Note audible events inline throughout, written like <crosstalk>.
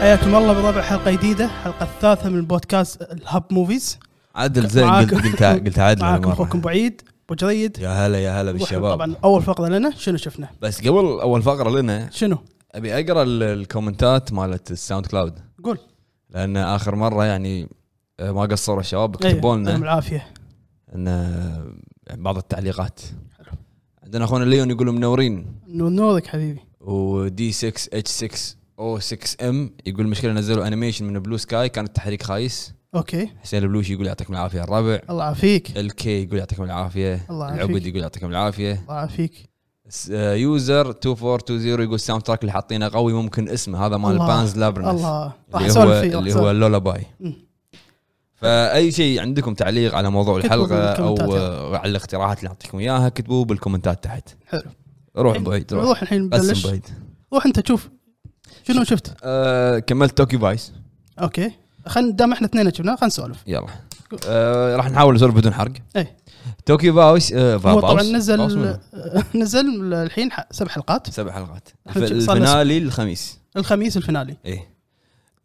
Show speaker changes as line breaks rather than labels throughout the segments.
حياكم الله بربع حلقه جديده الحلقه الثالثه من بودكاست الهاب موفيز
عدل زين قلت
معاكم-
قلت قلت عدل
معاكم
المرة.
اخوكم ابو عيد ابو جريد
يا هلا يا هلا
طبعا
بالشباب
اول فقره لنا شنو شفنا
بس قبل اول فقره لنا
شنو
ابي اقرا ال- الكومنتات مالت الساوند كلاود
قول
لان اخر مره يعني آه، ما قصروا الشباب
إيه،
كتبوا
يعطيهم
لنا
العافيه
ان آه، بعض التعليقات عندنا اخونا ليون يقول منورين
نور- نورك حبيبي
ودي 6 اتش 6 او 6 ام يقول المشكله نزلوا انيميشن من بلو سكاي كان التحريك خايس
اوكي
حسين البلوشي يقول يعطيكم العافيه الربع
الله يعافيك
الكي يقول يعطيكم العافيه
الله يعافيك.
العبد يقول يعطيكم العافيه
الله يعافيك
س- آه، يوزر 2420 يقول الساوند تراك اللي حاطينه قوي ممكن اسمه هذا مال
الله.
بانز لابرنس
الله راح
اللي هو
اسولف فيه راح
اللي هو
أسولف.
اللولا باي
مم.
فاي شيء عندكم تعليق على موضوع
كتبوا
الحلقه او
بالكومنتات
آه، على الاقتراحات اللي نعطيكم اياها كتبوه بالكومنتات تحت
حلو إيه،
روح بعيد روح
نروح الحين
بس
نبلش
بعيد
روح انت شوف شنو شفت
آه كملت توكي فايس
اوكي خلينا دام احنا اثنين شفناه خلينا نسولف
يلا آه راح نحاول نسولف بدون حرق
ايه
توكي فايس آه فا-
هو طبعا
فاوس- فاوس
نزل
منو؟
<laughs> نزل الحين ح- سبع حلقات
سبع حلقات الف-
إحنا شوف صار لنا
الفينالي الخميس
الخميس الفينالي
ايه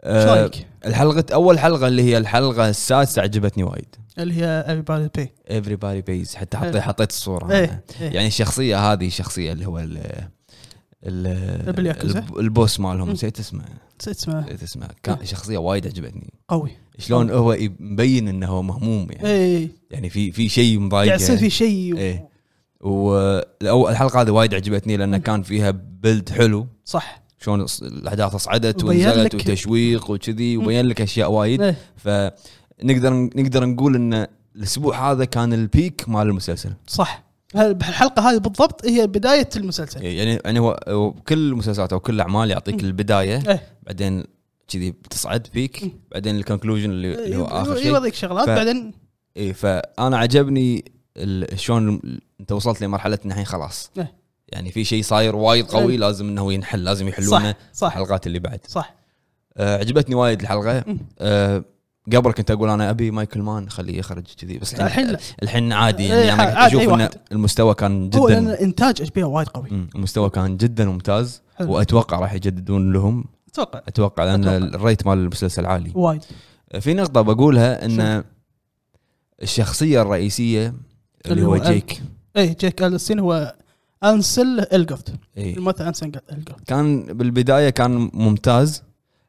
ايش
آه
رايك؟
الحلقه اول حلقه اللي هي الحلقه السادسه عجبتني وايد
اللي هي everybody pay
everybody pays حتى
إيه.
حطيت حطيت الصوره
ايه ايه
يعني الشخصيه هذه الشخصيه اللي هو ال ال
بالياكوزا؟
الب- البوس مالهم
إيه؟ مم. إيه.
نسيت اسمه
نسيت اسمه
نسيت اسمه كان شخصيه وايد عجبتني
قوي
شلون هو يب- مبين انه هو مهموم يعني
ايه
يعني في في شيء
قاعد يصير في
مضايقه
شيء
ايه والحلقه هذه وايد عجبتني لان كان فيها بيلد حلو
صح
شلون الص- الاحداث اصعدت
وبين
ونزلت
لك-
وتشويق وكذي وبين لك اشياء وايد
ايه
فنقدر نقدر نقول ان الاسبوع هذا كان البيك مال المسلسل
صح هال- الحلقه هذه بالضبط هي بدايه المسلسل
يعني يعني هو هو كل المسلسلات او كل الاعمال يعطيك البدايه
إيه.
بعدين كذي بتصعد بيك
مم. إيه،
بعدين الكونكلوجن اللي, اللي هو اخر شيء
يوريك شغلات
ف-
بعدين
اي فانا عجبني ال- شلون ال- انت وصلت لمرحله ان الحين خلاص
إيه.
يعني في شيء صاير وايد قوي
إيه.
لازم انه ينحل لازم يحلونه
صح صح
الحلقات اللي بعد
صح
آه عجبتني وايد الحلقه
مم.
آه قبل كنت اقول انا ابي مايكل مان خليه يخرج كذي بس
الحين
الحين
لا.
الحين عادي
إيه،
يعني انا
عادي،
كنت اشوف
أي
ان
واحد.
المستوى كان
هو لان
جدا
انتاج اتش بي وايد قوي
مم، المستوى كان جدا ممتاز
حلو.
واتوقع راح يجددون لهم
اتوقع
اتوقع لان
أتوقع.
الريت مال المسلسل عالي آه،
وايد
في نقطه بقولها ان الشخصيه الرئيسيه اللي هو
اللي هو
جيك
ايه جيك الستين هو انسل الجفت
إيه.
الممثل انسل الجفت
كان بالبدايه كان ممتاز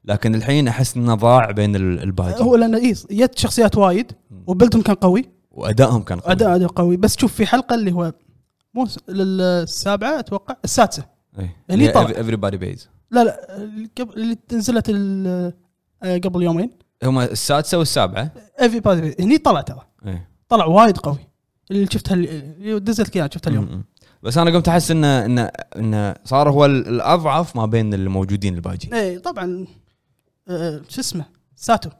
لكن الحين احس انه ضاع بين ال-
هو
الباقي
لان ايه جت شخصيات وايد وبلدهم كان قوي
وادائهم كان قوي
اداء اداء قوي بس شوف في حلقه اللي هو مو س- للسابعه اتوقع السادسه هني
اللي
طلع.
إيه. everybody pays
لا لا اللي قبل اللي نزلت ال- آه، قبل يومين
هم السادسه والسابعه
ايفي بادي هني طلع ترى
إيه.
طلع وايد قوي اللي شفتها ال- اللي نزلت كذا شفتها اليوم
م- م. إيه. بس انا قمت احس انه انه انه صار هو ال- الاضعف ما بين الموجودين الباقي
اي طبعا إيه، آه، شو اسمه ساتو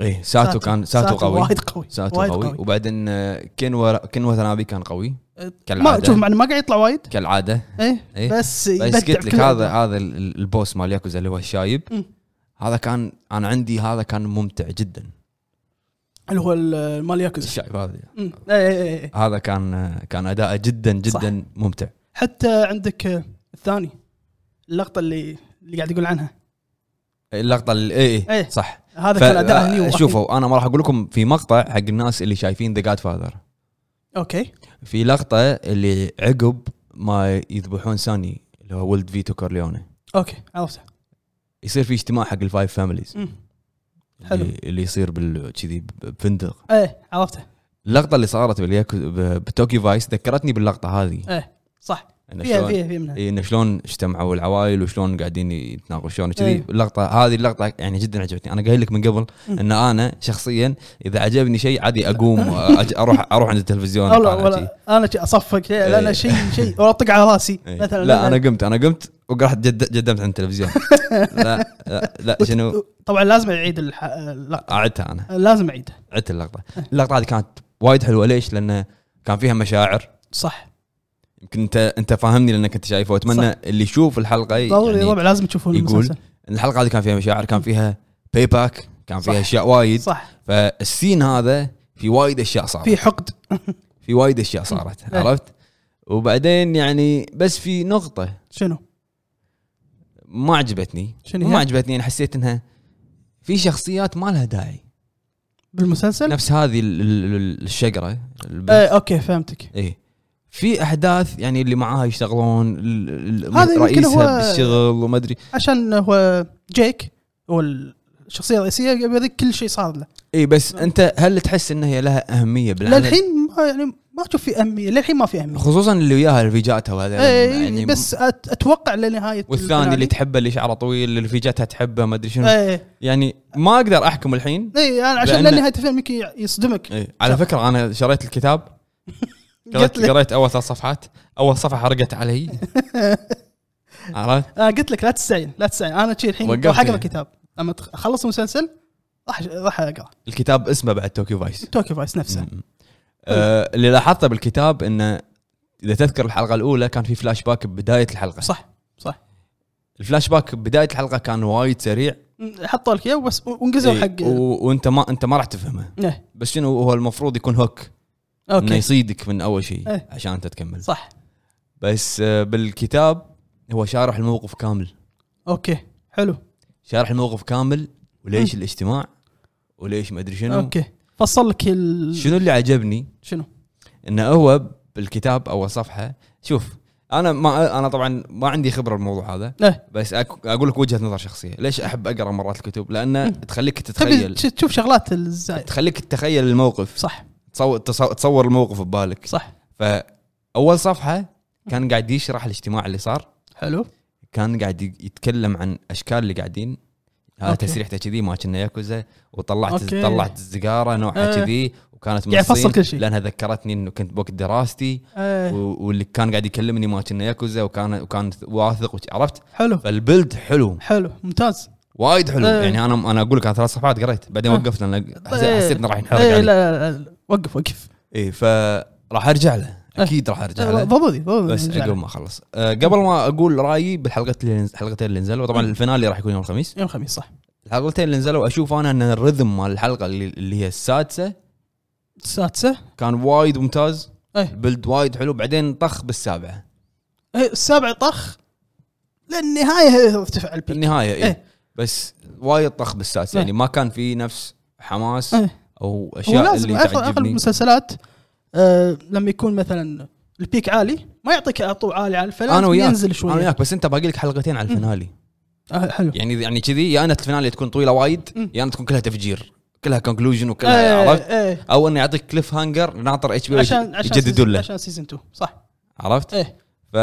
ايه ساتو كان ساتو قوي
وايد قوي
ساتو
وايد
قوي, قوي. وبعدين آه، كينوا كينوا تنابي كان قوي
آه، ما
كالعادة.
شوف معنا ما قاعد يطلع وايد
كالعاده
اي
إيه.
بس
بس
يبدع
قلت لك
بكل-
هذا هذا ال- ال- البوس مال ياكوزا اللي هو الشايب
مم.
هذا كان انا عندي هذا كان ممتع جدا
اللي هو ال- مال ياكوزا
الشايب هذا
مم. إيه، إي- إي- إي.
هذا كان آه، كان اداءه جدا جدا
صح.
صح. ممتع
حتى عندك آه، الثاني اللقطه اللي اللي قاعد يقول عنها
اللقطه اللي ايه,
إيه.
إيه. صح
هذا
ف-
كان اداء هني
آه،
وأخي.
شوفوا انا ما راح اقول لكم في مقطع حق الناس اللي شايفين ذا جاد فاذر
اوكي
في لقطه اللي عقب ما يذبحون ساني اللي هو ولد فيتو كورليونه
اوكي عرفته
يصير في اجتماع حق الفايف فاميليز
مم. حلو.
اللي, اللي يصير بال كذي بفندق
ايه عرفته
اللقطه اللي صارت بالياكو ب- بتوكيو فايس ذكرتني باللقطه هذه
ايه صح
إن
فيها
إيه، شلون-
فيها فيها منها
إيه، انه شلون اجتمعوا العوائل وشلون قاعدين يتناقشون
إيه.
كذي اللقطه هذه اللقطه يعني جدا عجبتني انا قايل لك من قبل
مم.
ان انا شخصيا اذا عجبني شيء عادي
<laughs>
اقوم وأج- اروح اروح عند التلفزيون
أو لا
أطالع شي.
ولا انا شي اصفق شي لان
إيه.
شيء شيء ولا اطق على راسي
إيه.
مثلا
لا انا قمت انا قمت ورحت جد جدمت عند
<laughs>
التلفزيون لا لا, لا شنو
طبعا لازم اعيد الح... اللقطه
قعدتها انا
لازم اعيدها
عدت اللقطه اللقطه هذه كانت وايد حلوه ليش؟ لان كان فيها مشاعر
صح
يمكن انت انت فاهمني لانك انت شايفه واتمنى اللي يشوف الحلقه
ضروري
يعني
ربع لازم تشوفون
يقول-
المسلسل
إن الحلقه هذه كان فيها مشاعر كان فيها باي باك كان
صح.
فيها اشياء وايد
صح
فالسين هذا في وايد اشياء صارت
في
في,
حقد
في وايد اشياء صارت
إيه.
عرفت؟ وبعدين يعني بس في نقطه
شنو
ما عجبتني
شنو هي؟
ما عجبتني انا حسيت انها في شخصيات ما لها داعي
بالمسلسل؟
نفس هذه ال- ال- ال- الشقره البنت.
ايه اوكي فهمتك
ايه في احداث يعني اللي معاها يشتغلون ال- ال-
هذا يمكن
رئيسها
هو-
بالشغل وما ادري
عشان هو جيك هو الشخصيه الرئيسيه بذيك كل شيء صار له
اي إيه، بس انت هل تحس ان هي لها اهميه بالعمل؟
نعم. للحين ما يعني ما اشوف في اهميه للحين ما في اهميه
خصوصا اللي وياها رفيجاتها وهذا يعني
ايه بس أت- اتوقع لنهايه
والثاني اللي
الفينالي.
تحبه اللي شعره طويل اللي رفيجاتها تحبه ما ادري شنو
ايه
يعني ما اقدر احكم الحين
ايه انا عشان
لأن-
لنهايه الفيلم يمكن يصدمك
إيه. على فكره انا شريت الكتاب
قلت
قريت,
لك
قريت اول ثلاث صفحات اول صفحه حرقت علي
<laughs>
عرفت
انا آه، قلت لك لا تستعين لا تستعين انا شي الحين
وقفت
راح اقرا
يعني.
كتاب لما تخ- اخلص مسلسل راح راح اقرا
الكتاب اسمه بعد توكيو فايس
توكي فايس نفسه
م- م. آه اللي لاحظته بالكتاب انه اذا تذكر الحلقه الاولى كان في فلاش باك ببدايه الحلقه
صح صح
الفلاش باك ببدايه الحلقه كان وايد سريع
م- حطوا لك اياه وبس وانقزوا
إيه،
حق
و... وانت ما انت ما راح تفهمه
إيه.
بس شنو هو المفروض يكون هوك انه
اوكي
يصيدك من اول شيء
إيه.
عشان انت تكمل
صح
بس آه، بالكتاب هو شارح الموقف كامل
اوكي حلو
شارح الموقف كامل وليش
إيه.
الاجتماع وليش ما ادري شنو
اوكي فصل لك ال...
شنو اللي عجبني
شنو
انه هو بالكتاب اول صفحه شوف انا ما انا طبعا ما عندي خبره بالموضوع هذا
إيه.
بس أك- اقول لك وجهه نظر شخصيه ليش احب اقرا مرات الكتب
إيه.
لانه تخليك
تبي
تتخيل
تش- تشوف شغلات الزايد
تخليك تتخيل الموقف
صح
تصور تصور- تصور الموقف ببالك
صح
فاول صفحه
إيه.
كان قاعد يشرح الاجتماع اللي صار
حلو
كان قاعد ي- يتكلم عن اشكال اللي قاعدين هذا
أوكي.
تسريحته كذي ما كنا ياكوزا وطلعت
أوكي.
أوكي. طلعت السيجاره نوعها
إيه.
كذي وكانت من
يعني فصل
الصين
كل شيء.
لانها ذكرتني انه كنت بوقت دراستي و-
ايه
واللي كان قاعد يكلمني ما كنا ياكوزا وكان وكان واثق وش- عرفت
حلو
فالبلد حلو
حلو ممتاز
وايد حلو
إيه.
يعني انا انا اقول لك انا ثلاث صفحات قريت بعدين
آه.
وقفت لان حس-
إيه.
حسيت انه راح ينحرق
ايه لا,
علي إيه،
لا, لا وقف وقف
اي فراح ارجع له
آه.
اكيد راح ارجع له
ضبطي ضبطي
بس
نرجع
عقب
له.
ما اخلص أه قبل ما اقول رايي بالحلقتين اللي الحلقتين اللي نزلوا طبعا الفينالي راح يكون يوم الخميس
يوم الخميس صح
الحلقتين اللي نزلوا اشوف انا ان الرذم مال الحلقه اللي, اللي هي السادسه
السادسه
كان وايد ممتاز
إيه.
البلد وايد حلو بعدين طخ بالسابعه
إيه، السابع طخ للنهايه ارتفع البيك
بالنهايه إيه.
إيه.
بس وايد طخ بالسادسه
إيه.
يعني ما كان في نفس حماس
إيه.
او
هو
اشياء
لازم
اللي
اغلب أغلب
تعجبني
المسلسلات آه لما يكون مثلا البيك عالي ما يعطيك على طول عالي على الفلان
انا وياك
ينزل إيه.
انا
شويه
وياك بس انت باقي لك حلقتين على الفينالي
آه حلو
يعني يعني كذي يا ان الفينالي تكون طويله وايد
مم.
يا ان تكون كلها تفجير كلها كونكلوجن وكلها
ايه
عرفت
ايه
او انه يعطيك كليف هانجر ناطر اتش بي
عشان عشان
يجددون
سيزن-
له
عشان سيزون 2 صح
عرفت؟
إيه.
ف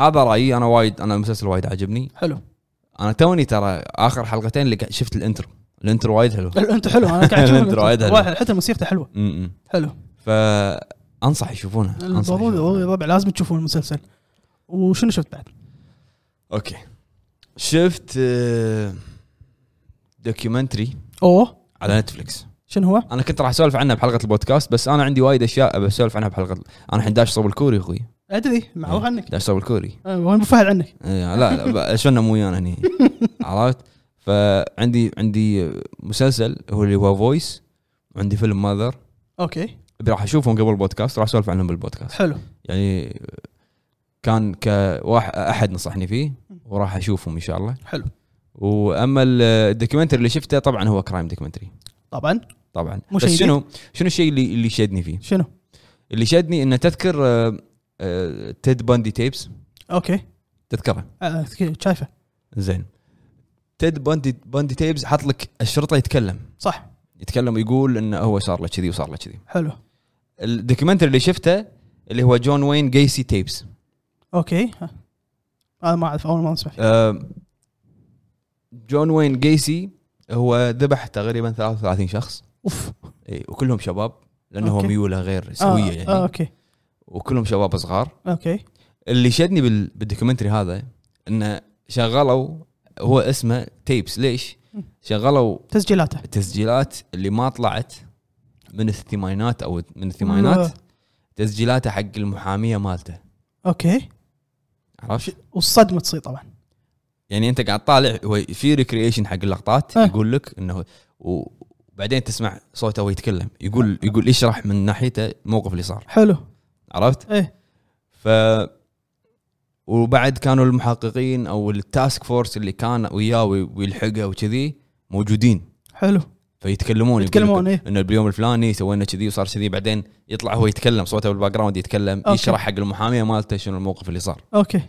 هذا رايي انا وايد انا المسلسل وايد عجبني
حلو
انا توني ترى اخر حلقتين اللي قا- شفت الانترو الانترو وايد حلو
انت حلو انا
<laughs>
قاعد اشوف
الانترو وايد حلو.
الانترو. حتى موسيقته حلوه
م-م.
حلو
فانصح يشوفونه أنصح
ضروري ضروري
يشوفونه.
ربع لازم تشوفون المسلسل وشنو شفت بعد؟
اوكي شفت آه، دوكيومنتري
اوه
على نتفلكس
شنو هو؟
انا كنت راح اسولف عنها بحلقه البودكاست بس انا عندي وايد اشياء ابي اسولف عنها بحلقه انا الحين داش صوب الكوري اخوي
ادري معروف عنك
داش صوب الكوري
آه، وين ابو فهد عنك؟
إيه، لا لا بقى شلنا مو
<laughs>
ويانا هني عرفت فعندي عندي مسلسل هو اللي هو فويس وعندي فيلم ماذر
اوكي
راح اشوفهم قبل البودكاست راح اسولف عنهم بالبودكاست
حلو
يعني كان كواحد احد نصحني فيه وراح اشوفهم ان شاء الله
حلو
واما ال- الدوكيومنتري اللي شفته طبعا هو كرايم دوكيومنتري
طبعا
طبعا
مو
بس
شيء
شنو شنو الشيء اللي اللي شدني فيه؟
شنو؟
اللي شدني انه تذكر آه، آه، تيد باندي تيبس
اوكي
تذكره
آه، أوكي، شايفه
زين تيد باندي باندي تيبز حاط لك الشرطه يتكلم
صح
يتكلم ويقول انه هو صار له كذي وصار له كذي
حلو
الدوكيومنتري اللي شفته اللي هو جون وين جيسي تيبس
اوكي ها. هذا ما اعرف اول ما اسمع فيه
آم، آه، جون وين جيسي هو ذبح تقريبا 33 شخص
اوف
اي وكلهم شباب لانه هو
أوكي.
ميوله غير سويه
آه، آه،
يعني
اوكي
وكلهم شباب صغار
اوكي
اللي شدني بال- بالدوكيومنتري هذا انه شغلوا هو اسمه تيبس ليش؟ شغلوا
تسجيلاته
التسجيلات اللي ما طلعت من الثمانينات او من الثمانينات تسجيلاته حق المحاميه مالته
اوكي
عرفت؟
والصدمه تصير طبعا
يعني انت قاعد طالع هو في ريكريشن حق اللقطات
آه.
يقول لك انه وبعدين تسمع صوته وهو يتكلم يقول يقول يشرح من ناحيته الموقف اللي صار
حلو
عرفت؟
ايه
ف وبعد كانوا المحققين او التاسك فورس اللي كان وياه وي- ويلحقه وكذي موجودين
حلو
فيتكلمون
يتكلمون،
يقول لك
إيه.
انه اليوم الفلاني سوينا كذي وصار كذي بعدين يطلع هو يتكلم صوته بالباك جراوند يتكلم
أوكي.
يشرح حق المحاميه مالته شنو الموقف اللي صار
اوكي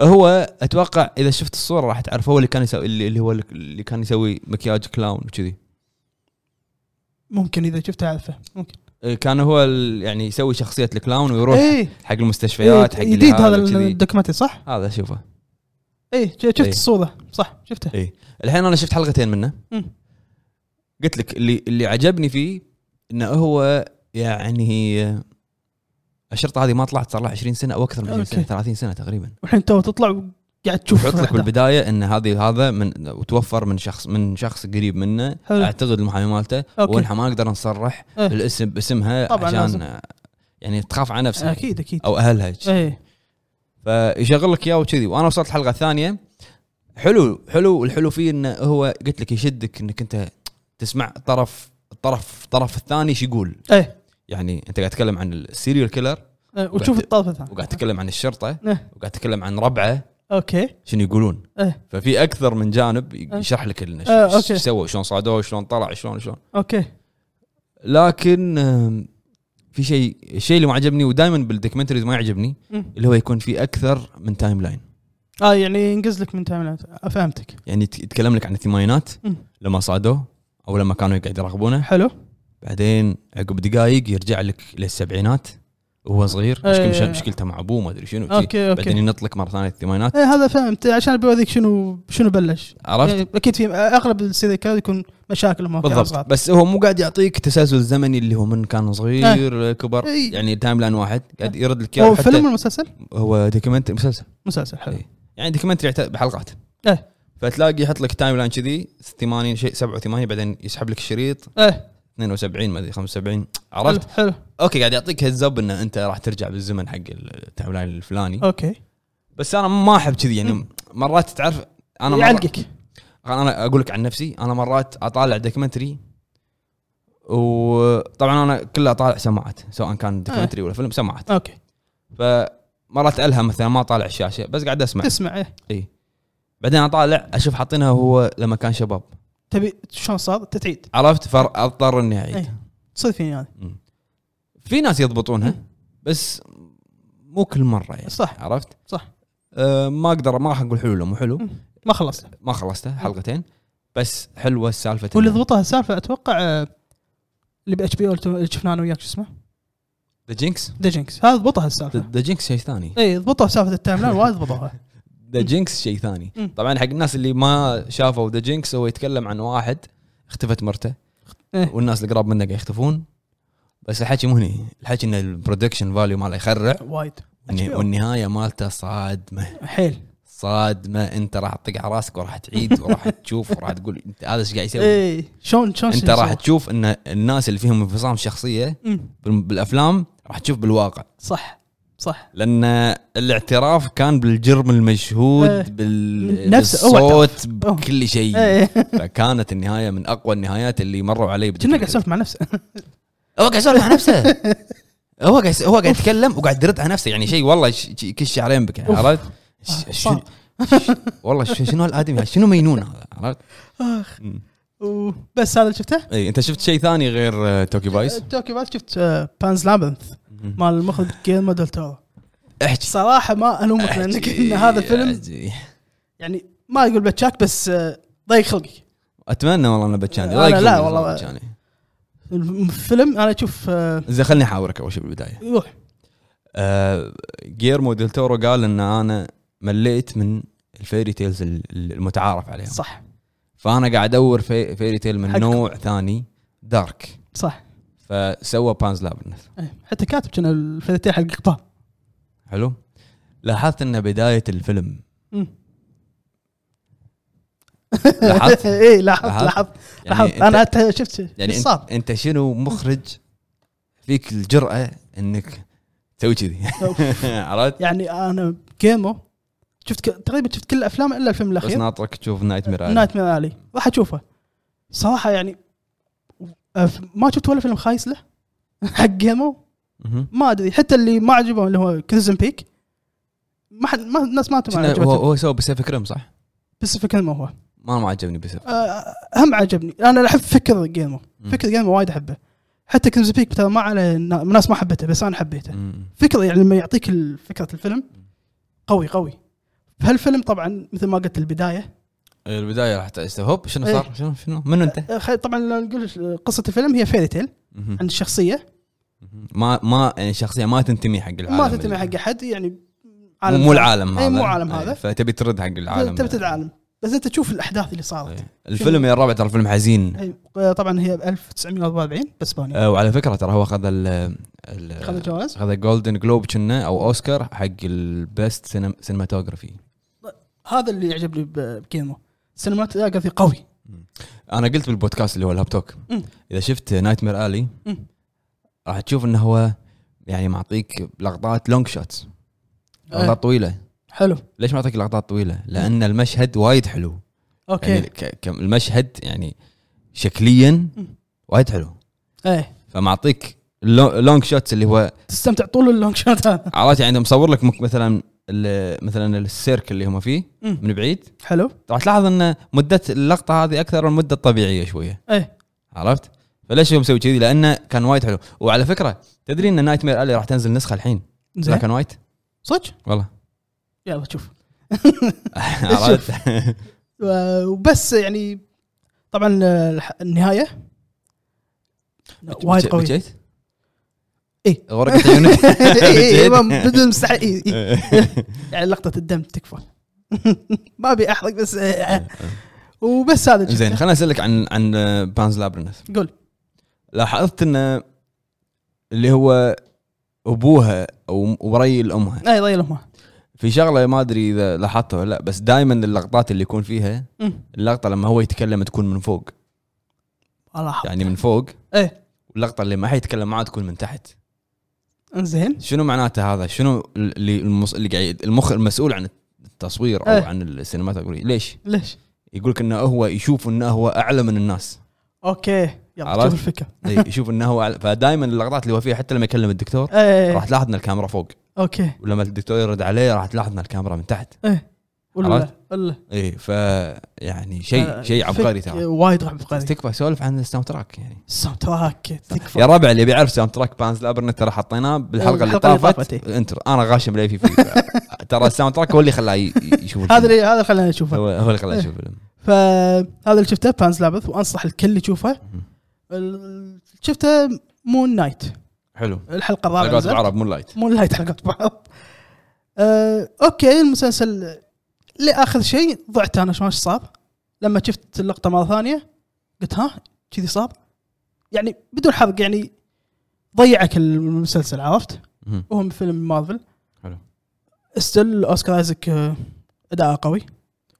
هو اتوقع اذا شفت الصوره راح تعرف هو اللي كان يسوي اللي اللي هو اللي كان يسوي مكياج كلاون وكذي
ممكن اذا شفته اعرفه ممكن
إيه، كان هو ال- يعني يسوي شخصيه الكلاون ويروح
اي
حق المستشفيات حق
إي، إيه. جديد هذا
وكذي. إيه.
الدوكيومنتري صح؟
هذا اشوفه
اي ج- شفت
إي.
الصوره صح شفته
إي. الحين انا شفت حلقتين منه
مم.
قلت لك اللي اللي عجبني فيه انه هو يعني الشرطه هذه ما طلعت صار لها 20 سنه او اكثر من 20 سنه
أوكي.
30 سنه تقريبا
والحين تو تطلع وقاعد تشوف
وحط لك
الأحداث.
بالبدايه ان هذه هذا من وتوفر من شخص من شخص قريب منه
حلو.
اعتقد المحامي مالته
أوكي.
وانها ما نقدر نصرح
إيه.
بالاسم باسمها
طبعاً
عشان
لازم. إيه.
يعني تخاف على نفسها
اكيد اكيد
او اهلها
اي
فيشغل لك اياه وكذي وانا وصلت الحلقه الثانيه حلو حلو والحلو فيه انه هو قلت لك يشدك انك انت تسمع طرف الطرف الطرف الثاني شو يقول
اي
يعني انت قاعد تتكلم عن السيريال كيلر
إي، إيه. وتشوف
وقاعد-
الطرف الثاني
وقاعد تتكلم عن الشرطه
إيه.
وقاعد تتكلم عن ربعه
اوكي
شنو يقولون
إيه.
ففي اكثر من جانب
إيه.
يشرح لك إنه
آه،
شو- شو
أوكي.
سووا شلون صعدوه شلون طلع شلون شلون
اوكي
لكن آم، في شيء الشيء اللي ما عجبني ودائما بالدوكيومنتريز ما يعجبني
مم.
اللي هو يكون في اكثر من تايم لاين
اه يعني ينقز لك من تايم لاين فهمتك
يعني يت- يتكلم لك عن الثمانينات
مم.
لما صادوه او لما كانوا قاعد يراقبونه
حلو
بعدين عقب دقائق يرجع لك للسبعينات وهو صغير
إيه.
مشكل- مش- مشكلته مع ابوه ما ادري شنو شي.
اوكي
بعدين
اوكي
ينط لك مره ثانيه الثمانينات
اي إيه، هذا فهمت عشان بيوريك شنو شنو بلش
عرفت
يعني اكيد في اغلب السيريال كيلر يكون مشاكل ومواقع
بالضبط
أصعب.
بس هو مو قاعد يعطيك تسلسل زمني اللي هو من كان صغير كبر
إيه.
يعني تايم لاين واحد قاعد يرد لك
هو
اياه
فيلم
حتى
ولا مسلسل؟
هو دوكيومنتري مسلسل
مسلسل حلو
إيه. يعني دوكيومنتري يعت- بحلقات
إيه.
فتلاقي يحط لك تايم لاين كذي 80 شيء 87 بعدين يسحب لك الشريط
ايه
72 ما ادري 75 عرفت
حلو حلو
اوكي قاعد يعطيك هيدز اب انه انت راح ترجع بالزمن حق التايم لاين الفلاني
اوكي
بس انا ما احب كذي يعني
مم. يعني
مرات تعرف انا مرات
يعلقك
انا اقول لك عن نفسي انا مرات اطالع دوكيومنتري وطبعا انا كله اطالع سماعات سواء كان دوكيومنتري ولا فيلم سماعات
اوكي
فمرات الهم مثلا ما اطالع الشاشه بس قاعد اسمع
تسمع ايه
بعدين اطالع اشوف حاطينها هو لما كان شباب
تبي شلون صار تتعيد
عرفت فاضطر اني اعيد
ايه تصير فيني هذا
مم. في ناس يضبطونها بس مو كل مره يعني
صح.
عرفت؟
صح.
أه ما اقدر ما راح اقول حلو ولا مو حلو
مم. ما خلصت
ما خلصته حلقتين بس حلوه السالفه
واللي ضبطها السالفه اتوقع آه، اللي باتش بي اللي شفناه انا وياك شو اسمه
ذا جينكس
ذا جينكس هذا ضبطها السالفه
ذا جينكس شيء ثاني
اي ضبطها سالفه التايم لاين وايد
<laughs>
ضبطوها
ذا جينكس شيء ثاني
مم.
طبعا حق الناس اللي ما شافوا ذا جينكس هو يتكلم عن واحد اختفت مرته
إيه.
والناس اللي قراب منه قاعد يختفون بس الحكي مو هني الحكي ان البرودكشن فاليو ماله يخرع
وايد HBO.
والنهايه مالته صادمه
حيل
صادمه انت راح تطق على راسك وراح تعيد وراح تشوف وراح تقول انت هذا ايش قاعد يسوي
اي إيه. شلون شلون
انت
شلون
راح
سوى؟
تشوف ان الناس اللي فيهم انفصام شخصيه
مم.
بال- بالافلام راح تشوف بالواقع
صح صح
لان الاعتراف كان بالجرم
ايه.
المشهود بال...
نفسه، هو إيه.
بالصوت
هو.
بكل
<laughs>
شيء
اي
فكانت النهايه من اقوى النهايات اللي مروا علي
كنا قاعد يسولف مع نفسه
هو قاعد يسولف مع نفسه
<laughs>
هو قاعد هو قاعد يتكلم وقاعد يرد على نفسه يعني شيء والله ش- ش- يكش شعرين بك يعني
أوف. آه،
عرفت؟ ش- شنو-
صعب.
ش- والله ش- شنو هالادمي هذا؟ شنو مينون هذا عرفت؟
اخ
مم.
و- بس هذا اللي شفته أه،
اي انت شفت شيء ثاني غير آه، توكي فايس؟
توكي بس شفت بانز لابنث
مم.
مال المخرج جيلمو ديل تورو
احكي
صراحه ما الومك
<laughs>
لانك ان هذا فيلم
أحكي.
يعني ما اقول بتشاك بس آه، ضيق خلقي
اتمنى والله انا بتشاني
أنا آه، لا
يقفل
والله.
بتشاني.
الفيلم انا اشوف آه،
زين خليني احاورك اول شيء بالبدايه
يروح
آه، جيرمو ديل تورو قال ان انا مليت من الفيري تيلز ال- ال- المتعارف عليها
صح
فانا قاعد ادور في فيري تيل من
حق-
نوع ثاني دارك
صح
فسوى بانز لابنث
إيه. حتى كاتب كان الفيديتين حق قطار
حلو لاحظت ان بدايه الفيلم يعني
<laughs>
لاحظت
اي إيه، لاحظت
لاحظت؟
لاحظت لاحظت
يعني
انا
انت,
حتى شفت
يعني
ايش صار
انت, انت شنو مخرج فيك الجراه انك
<laughs>
تسوي كذي عرفت؟
يعني انا جيمو شفت ك- تقريبا شفت كل افلامه الا الفيلم
بس
الاخير
ناطرك تشوف نايت مير
نايت مير الي راح اشوفه صراحه يعني أف- ما شفت ولا فيلم خايس له <laughs> حق جيمو ما ادري حتى اللي ما عجبهم اللي هو كريزن بيك ما حد ما الناس ما تبغى
هو
عجبته
هو سوى باسيفيك ريم صح؟
بس في كلمه هو
ما ما عجبني بيسيرك
آه، هم عجبني انا احب فكر الجيمر
مم.
فكر الجيمر وايد احبه حتى كنز بيك ترى ما على ناس ما حبته بس انا حبيته
مم.
فكره يعني لما يعطيك ال- فكره الفيلم قوي قوي بهالفيلم طبعا مثل ما قلت البدايه
البدايه راح تعيش طيب، هوب شنو
إيه.
صار شنو شنو منو انت؟
آه، خل- طبعا لو نقول قصه الفيلم هي فيري تيل
مهم.
عن الشخصيه
ما ما يعني شخصيه ما تنتمي حق العالم
ما تنتمي
اللي-
حق احد يعني
مو مو العالم
إيه،
هذا
مو عالم
إيه،
هذا.
فتبي ترد حق العالم
تبت العالم بس انت تشوف الاحداث اللي صارت
إيه. الفيلم يا الرابع ترى فيلم حزين
هي- آه، طبعا هي ب 1944 باسبانيا
إيه. آه، وعلى فكره ترى هو اخذ ال ال-
خذ الجوائز
هذا جولدن جلوب كنا او اوسكار حق البيست سينماتوجرافي
هذا اللي يعجبني ب- بكيمو سينماتوجرافي قوي
انا قلت بالبودكاست اللي هو الهاب توك
مم.
اذا شفت نايت مير الي
مم.
راح تشوف انه هو يعني معطيك لقطات لونج شوتس
آه،
لقطات طويله
حلو
ليش معطيك لقطات طويله؟ لان المشهد وايد حلو يعني
اوكي
ك- ك- المشهد يعني شكليا
مم.
وايد حلو
ايه
فمعطيك لو- لونج شوتس اللي هو
تستمتع طول اللونج شوت هذا
عرفت يعني مصور لك مك- مثلا ال- مثلا السيرك اللي هم فيه
مم.
من بعيد
حلو
راح تلاحظ ان مده اللقطه هذه اكثر من المده الطبيعيه شويه
ايه
عرفت؟ فليش هو مسوي كذي؟ لانه كان وايد حلو وعلى فكره تدري ان نايت مير الي راح تنزل نسخه الحين
زين
بلاك اند وايت
صدق <laughs>
والله
يلا شوف
عرفت؟
و- وبس يعني طبعا الح- النهايه وايد قوي
بكيت؟ <laughs>
<laughs> إيه.
غرقت عيونك
إيه، إيه،
بكيت؟
ما- بدون مستحيل إيه، إيه. يعني لقطه الدم تكفى <laughs> ما ابي احرق بس إيه. وبس هذا اللي
<laughs> زين
شفته.
خليني اسالك عن عن بانز لابرنث
قول
لاحظت ان اللي هو ابوها او وري الامها
اي ضيل امها
في شغله ما ادري اذا لاحظتها ولا لا بس دائما اللقطات اللي يكون فيها
أمم.
اللقطه لما هو يتكلم تكون من فوق
الله
يعني من فوق
ايه
واللقطه اللي ما حد يتكلم معاه تكون من تحت يعني-
انزين
شنو معناته هذا شنو اللي المص... اللي قاعد المخ المسؤول عن التصوير او
إيه.
عن السينماتوجرافي ليش
ليش؟
يقول لك انه هو يشوف انه هو اعلى من الناس
اوكي يلا
عرفت؟
شوف الفكره
إي، يشوف انه هو أعلى. فدائما اللقطات اللي هو فيها حتى لما يكلم الدكتور
ايه
راح تلاحظ ان الكاميرا فوق
اوكي
ولما الدكتور يرد عليه راح تلاحظ ان الكاميرا من تحت
ايه ولا
عرفت؟
ولا
اي ف يعني شيء شيء عبقري ترى
وايد آه، عبقري
تكفى سولف عن الساوند تراك يعني
الساوند تراك تكفى
يا ربع اللي بيعرف ساوند تراك بانز لابرنت ترى حطيناه بالحلقه اللي
الحلقة اللي
طافت
طافت، إيه.
انتر انا غاشم ليفي فيه
<laughs>
ترى الساوند تراك هو اللي خلاه ي- يشوف الفيلم.
هذا اللي إيه. هذا خلينا نشوفه
هو, هو اللي خلاه يشوف الفيلم
فهذا اللي شفته بانز لابث وانصح الكل يشوفه
مهم.
ال- شفته مون نايت
حلو
الحلقه الرابعه
حلقات
نزلت.
بعرب مون لايت
مون نايت حلقات بعض أه اوكي المسلسل لاخر شيء ضعت انا شو- ما ايش صار لما شفت اللقطه مره ثانيه قلت ها كذي صار يعني بدون حرق يعني ضيعك المسلسل عرفت
مهم.
وهو من فيلم مارفل
حلو.
ستيل اوسكار ايزك آه، اداءه قوي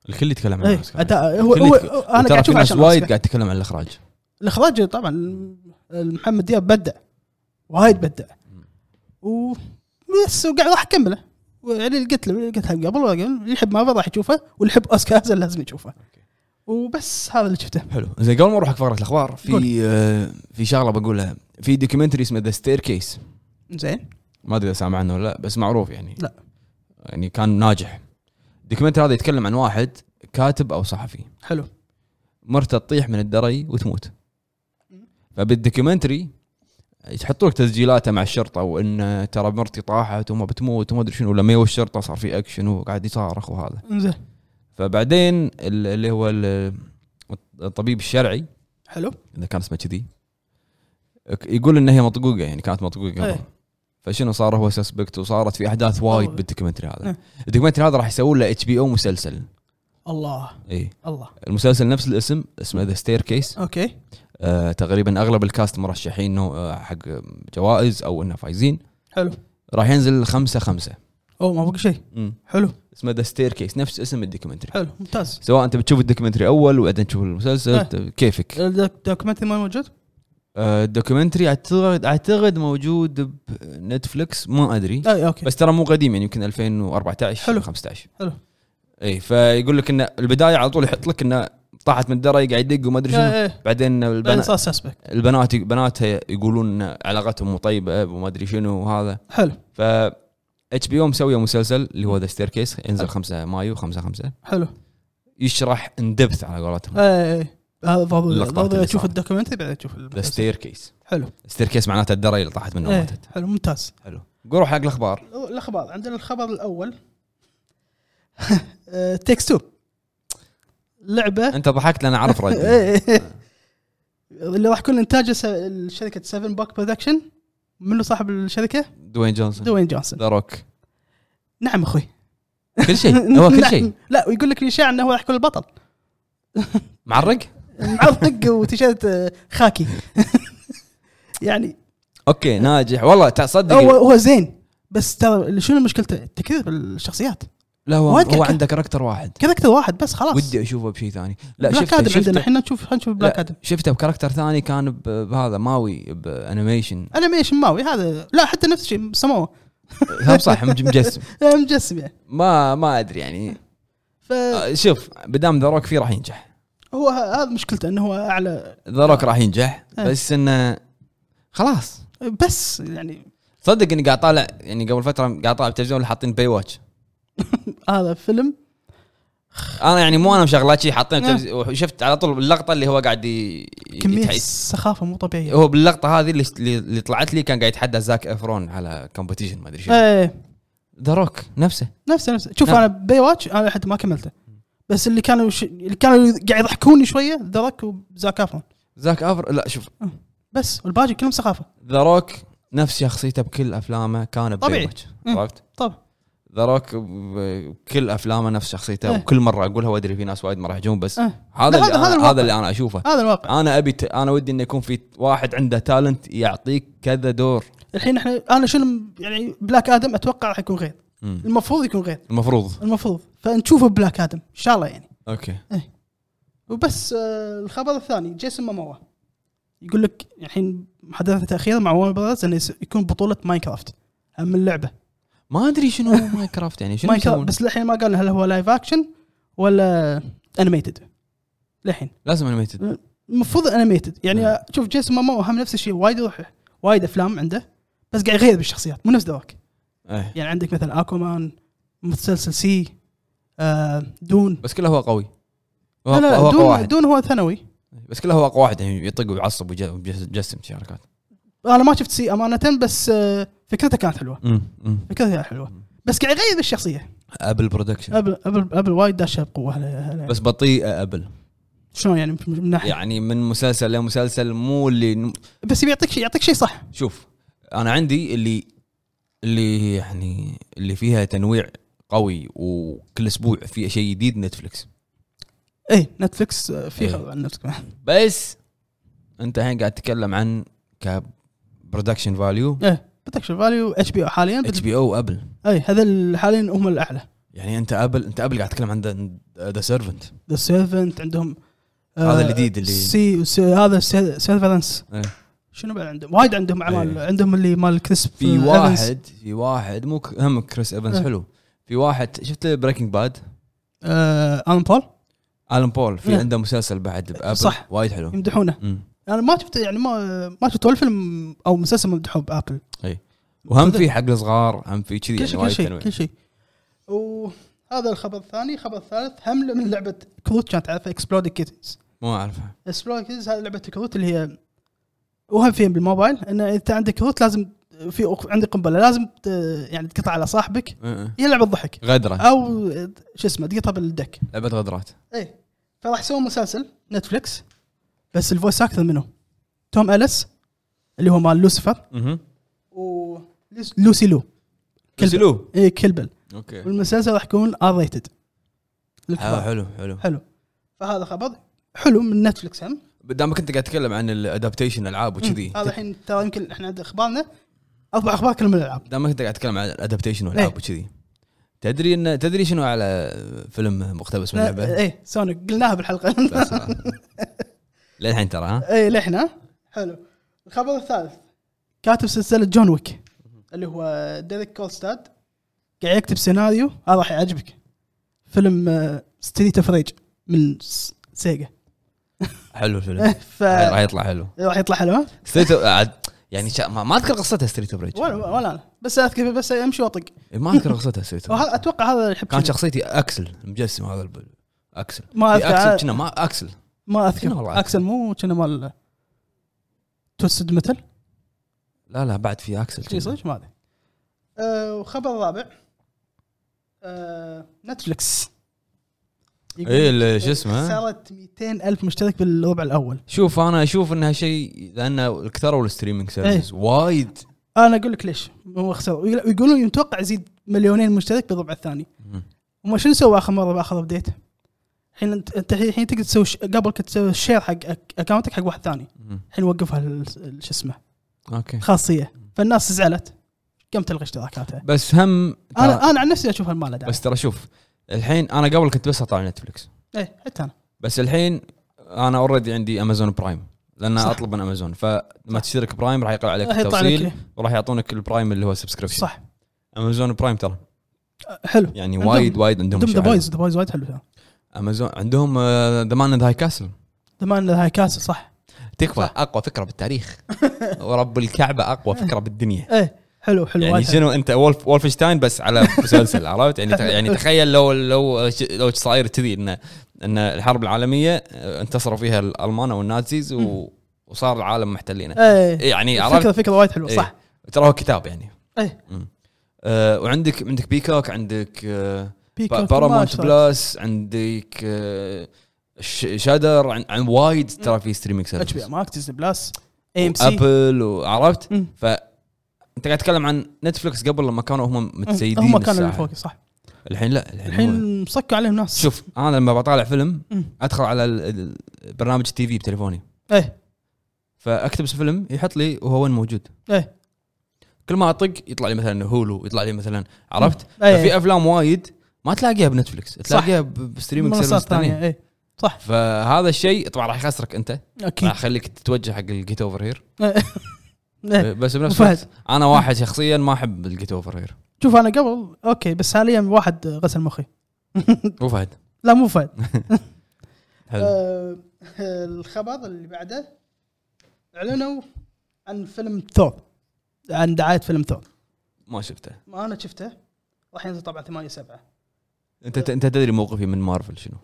الكل يتكلم عن
ايه
الأوسكار.
اداء هو,
الكل
هو
يتك-
انا قاعد
ترى في
اشوف
ناس
عشان
وايد
وايد
قاعد تتكلم عن الاخراج
الاخراج طبعا محمد دياب بدع وايد بدع و بس وقاعد راح اكمله يعني اللي قلت له اللي قلت له قبل اللي يحب مارفل راح يشوفه واللي يحب اوسكار هذا لازم يشوفه وبس هذا اللي شفته
حلو زين قبل ما نروح حق فقره الاخبار
قول.
في آه في شغله بقولها في دوكيومنتري اسمه ذا ستير كيس
زين
ما ادري اذا سامع عنه ولا لا بس معروف يعني
لا.
يعني كان ناجح الدوكيومنتري هذا يتكلم عن واحد كاتب او صحفي
حلو
مرته تطيح من الدري وتموت فبالدوكيومنتري يحطوا لك تسجيلاته مع الشرطه وان ترى مرتي طاحت وما بتموت وما ادري شنو لما يو الشرطه صار في اكشن وقاعد يصارخ وهذا
زين
فبعدين ال- اللي هو ال- الطبيب الشرعي
حلو
اذا كان اسمه كذي يقول ان هي مطقوقه يعني كانت مطقوقه قبل
إيه.
فشنو صار هو سسبكت وصارت في احداث وايد
أوه.
بالدوكيومنتري هذا
إيه.
الدوكيومنتري هذا راح يسوون له اتش بي او مسلسل
الله
اي
الله
المسلسل نفس الاسم اسمه ذا ستير كيس
اوكي
تقريبا اغلب الكاست مرشحين انه آه، حق جوائز او انه فايزين
حلو
راح ينزل خمسة خمسة
اوه ما بقى شيء حلو
اسمه ذا ستير كيس نفس اسم الدوكيومنتري
حلو ممتاز
سواء انت بتشوف الدوكيومنتري اول وبعدين تشوف المسلسل
إيه.
ت- كيفك
الدوكيومنتري ما موجود؟
آه، الدوكيومنتري اعتقد اعتقد موجود بنتفلكس ما ادري
اي اوكي
بس ترى مو قديم يعني يمكن 2014
حلو.
15
حلو.
اي إيه، فيقول لك انه البدايه على طول يحط لك انه طاحت من الدرج قاعد يدق وما ادري شنو
إيه، إيه.
بعدين
بعدين
البنات
صار سسبكت
البنات بنات يقولون إن علاقتهم مو طيبه وما ادري شنو وهذا
حلو
ف اتش بي او مسويه مسلسل اللي هو ذا ستير كيس ينزل 5 مايو 5 5
حلو آه،
يشرح اندبث على قولتهم
اي هذا ضروري
اللقطات
ضروري
اللي
اشوف
صارت.
الدوكيومنتري بعدين اشوف المسلسل.
الستير كيس
حلو
الستير كيس معناته الدرج اللي طاحت منه
إيه،
وماتت
حلو ممتاز
حلو قول روح حق الاخبار
الاخبار عندنا الخبر <laughs> الاول تيكس تو <laughs> لعبه
انت ضحكت لان اعرف
<laughs>
ردي
إيه. اللي راح يكون انتاج شركه 7 باك برودكشن منو صاحب
<laughs>
الشركه؟
دوين جونسون
دوين جونسون
ذا روك
نعم اخوي
كل شيء
<laughs>
إيه، هو كل
نعم.
شيء
لا ويقول لك الاشاعه انه هو راح يكون البطل
معرق <laughs>
معرق وتيشيرت آه، خاكي <laughs> يعني
اوكي ناجح والله
هو
تصدق
هو زين بس ترى شنو مشكلته؟ التكرير بالشخصيات
لا هو
وايد
هو
كان-
عنده كاركتر واحد
كاركتر واحد بس خلاص
ودي اشوفه بشيء ثاني لا
بلاك
شفته
ادم عندنا
شفته
احنا نشوف خلينا نشوف بلاك
لا،
ادم
شفته بكاركتر ثاني كان ب- بهذا ماوي بانيميشن
انيميشن ماوي هذا لا حتى نفس الشيء سموه
هم صح مج- مجسم
آه، مجسم يعني
ما ما ادري يعني
فهو
آه، شوف بدام ذا روك فيه راح ينجح
ه- هذا مشكلته انه هو اعلى
ذا روك راح ينجح
إيه.
بس انه خلاص
بس يعني
صدق اني قاعد طالع يعني قبل فتره قاعد طالع بالتلفزيون اللي حاطين باي واتش
هذا فيلم
انا يعني مو انا مشغلات شيء حاطين
إيه.
تلفزي- وشفت على طول اللقطه اللي هو قاعد ي...
كميه
يتح-
سخافه مو طبيعيه
هو باللقطه هذه اللي اللي طلعت لي كان قاعد يتحدى زاك افرون على كومبيتيشن ما ادري شو
ايه
ذا روك نفسه
نفسه نفسه شوف
نعم.
انا باي واتش انا لحد ما كملته بس اللي كانوا ش... اللي كانوا قاعد يضحكوني شويه درك وزاك افرون
زاك افر لا شوف
بس والباقي كلهم سخافه
ذا روك نفس شخصيته بكل افلامه كان
طبيعي.
ببيوتش
مم.
عرفت؟
طبعا
ذا روك ب- بكل افلامه نفس شخصيته
إيه.
وكل مره اقولها وادري في ناس وايد ما راح يجون بس
إيه.
هذا
لا، هذا-
اللي
هذا
أنا-
الواقع.
هذا اللي انا اشوفه
هذا الواقع
انا ابي ت- انا ودي انه يكون في واحد عنده تالنت يعطيك كذا دور
الحين احنا انا شنو يعني بلاك ادم اتوقع راح يكون غير
مم.
المفروض يكون غير
المفروض
المفروض فنشوفه بلاك ادم ان شاء الله يعني
اوكي
وبس آه، الخبر الثاني جيسون ماموا يقول لك الحين محادثه اخيره مع ون براذرز انه يس- يكون بطوله ماينكرافت اهم اللعبه
ما
<laughs>
ادري شنو ماينكرافت يعني شنو
ماينكرافت
يسوون
بس للحين ما قالنا هل هو لايف اكشن ولا انيميتد للحين
لازم انيميتد
المفروض انيميتد يعني
مم.
آه، شوف جيسون ماموا هم نفس الشيء وايد يروح وايد افلام عنده بس قاعد يغير بالشخصيات مو نفس ذاك
إيه.
يعني عندك مثلا اكومان مسلسل سي آه، دون
بس كله هو قوي هو,
لا لا
هو قوي
دون
واحد
دون هو ثانوي
بس كله هو اقوى واحد يعني يطق ويعصب ويج- ويجسم شي حركات
انا ما شفت سي امانه بس آه، فكرته كانت حلوه فكرتها حلوه بس قاعد يغير الشخصيه
ابل برودكشن
ابل ابل ابل وايد داشه بقوه هلا- هلا.
بس بطيئه ابل
شلون يعني من ناحيه
يعني من مسلسل لمسلسل مو اللي
بس يبي يعطيك شيء يعطيك شيء صح
شوف انا عندي اللي اللي يعني اللي فيها تنويع قوي وكل اسبوع في شيء جديد نتفلكس
اي نتفلكس آه، في
إيه.
خبر عن <laughs> نتفلكس
بس انت الحين قاعد تتكلم عن كبرودكشن فاليو
ايه بروتكشن فاليو اتش بي او حاليا
اتش بي او ابل
اي إيه، هذا ال- حاليا هم الاعلى
يعني انت ابل انت ابل قاعد تتكلم عن ذا سيرفنت
ذا سيرفنت عندهم
هذا الجديد اللي-
سي, سي هذا سيرفرنس
إيه.
شنو بعد عندهم وايد عندهم اعمال
إيه.
عندهم اللي مال كريسب
في
آه، إيفنس.
واحد في واحد مو ك- هم كريس ايفنز
إيه.
حلو في واحد شفت بريكنج باد
آه الان بول
الان بول في
إيه.
عنده مسلسل بعد بابل
صح.
وايد حلو
يمدحونه
مم.
انا ما شفت يعني ما ما شفت ولا فيلم او مسلسل ممدحوه بابل
وهم
صدق.
في حق الصغار هم في كذي
كل
يعني
شيء كل
وايد
شيء
تنويع
كل شيء وهذا الخبر الثاني الخبر الثالث حمله من لعبه كروت كانت عارفها اكسبلود كيتنز
مو اعرفها
اكسبلود كيتنز هذه لعبه كروت اللي هي وهم فيها بالموبايل ان إذا انت عندك كروت لازم في أق- عندي قنبله لازم ت- يعني تقطع على صاحبك
إيه.
هي لعبه ضحك
غدره
او شو اسمه تقطع بالدك
لعبه غدرات
اي فراح يسوون مسلسل نتفلكس بس الفويس اكثر منه توم اليس اللي هو مال لوسيفر و لوسي لو كلب.
كسلو
اي كلبل
اوكي
والمسلسل راح يكون ار ريتد
إيه. آه، حلو حلو
حلو فهذا خبر حلو من نتفلكس هم
دامك انت قاعد تتكلم عن الادابتيشن العاب وكذي
هذا الحين ترى يمكن احنا عند اخبارنا اربع اخبار كلهم من الالعاب
دامك انت قاعد تتكلم عن الادابتيشن
إيه.
والعاب وكذي تدري ان تدري شنو على فيلم مقتبس من لعبه؟
ايه سونيك قلناها بالحلقه <laughs>
لا، صراحة. للحين ترى ها
ايه لحنا ها؟ حلو الخبر الثالث كاتب سلسله جون ويك اللي هو ديريك كولستاد قاعد يكتب سيناريو هذا راح يعجبك فيلم آه، ستريت اوف ريج من س-
<laughs>
سيجا
حلو الفيلم
<laughs> ف
آه، راح يطلع حلو
راح يطلع حلو ها؟
ستريت أوف- عاد يعني شا... ما, ما اذكر قصتها ستريت اوف ريج
ولا ولا انا بس اذكر بس امشي واطق
ما اذكر قصتها ستريت اوف ريج
وهذا- اتوقع هذا يحب
كان شخصيتي اكسل المجسم هذا الب... اكسل
ما
في
أذكر.
اكسل كنا ما اكسل
ما
كنا والله
اذكر
أكسل.
اكسل مو كنا مال توستد متل
لا لا بعد في اكسل
اي
كنا.
صدق ما ادري آه، وخبر رابع آه، نتفلكس يقول
إيه، ال- شو اسمه؟
خسرت 200 الف مشترك بالربع الاول
شوف انا اشوف ان هالشيء لان كثروا الستريمينج
إيه.
سيرفيس وايد
انا اقول لك ليش هو خسر ويقولون يتوقع يزيد مليونين مشترك بالربع الثاني وما شنو سوى اخر مره باخر ابديت الحين انت أنت الحين تقدر تسوي ش- قبل كنت تسوي الشير حق أك- اكونتك حق واحد ثاني
مم.
الحين وقفها ال- ال- شو اسمه
اوكي
خاصيه فالناس زعلت قام تلغي اشتراكاتها
بس هم ترى-
انا انا عن نفسي اشوف هالمال داعي
بس ترى شوف الحين انا قبل كنت بس اطالع نتفلكس
اي إيه، حتى انا
بس الحين انا اوريدي عندي امازون برايم لان
صح.
اطلب من امازون فلما تشترك برايم راح يقل عليك
راح يطلع
التوصيل
لك- إيه.
وراح يعطونك البرايم اللي هو سبسكريبشن
صح
امازون برايم ترى
حلو
يعني
عندهم-
وايد وايد عندهم
عندهم ذا
شيء
بويز ذا بويز وايد حلو فيها
عدل. امازون عندهم آه، ذا مان ذا هاي كاسل
زمان هاي كاسل صح
تكفى اقوى
<laughs>
فكره بالتاريخ ورب الكعبه اقوى فكره بالدنيا
ايه حلو حلو
يعني
وايد حلو.
شنو انت وولف وولفشتاين بس على
<laughs>
مسلسل عرفت يعني تخ- يعني تخيل لو لو ش- لو صاير كذي ان ان الحرب العالميه آه، انتصروا فيها الالمان او النازيز و- وصار العالم محتلينه
ايه
يعني
فكره
عرفت
فكره وايد حلوه صح
إيه. ترى هو كتاب يعني
إيه.
مم. آه وعندك عندك بيكوك عندك آه
بيكوك ما
بارامونت
أشترك.
بلس عندك آه ش- شادر عن, عن وايد ترى في ستريمينج
اتش بي
سيرفيس
ماكس ديزني بلس اي ام سي
ابل وعرفت
مم.
ف انت قاعد تتكلم عن نتفلكس قبل لما كانوا هم متسيدين
هم كانوا اللي
الساحة. يعني
فوق صح
الحين لا الحين, الحين
الحين مسكوا عليهم ناس
شوف انا لما بطالع فيلم
مم.
ادخل على ال- ال- برنامج تي في بتليفوني
ايه
فاكتب اسم فيلم يحط لي وهو وين موجود
ايه
كل ما اطق يطلع لي مثلا هولو يطلع لي مثلا عرفت
إيه.
ففي افلام وايد ما تلاقيها بنتفلكس تلاقيها ب- بستريمينج
منصات
سيرفيس ثانيه
ثانيه ايه صح
فهذا الشيء طبعا راح يخسرك انت
اكيد
راح يخليك تتوجه حق الجيت اوفر هير
إيه.
بس بنفس
وفهد.
الوقت انا واحد شخصيا ما احب الجيت اوفر هير
شوف انا قبل اوكي بس حاليا واحد غسل مخي <laughs>
وفهد
لا مو فهد
حلو
آه، الخبر اللي بعده اعلنوا عن فيلم ثور عن دعايه فيلم ثور
ما شفته
ما انا شفته راح ينزل طبعا 8 7
انت انت تدري موقفي من مارفل شنو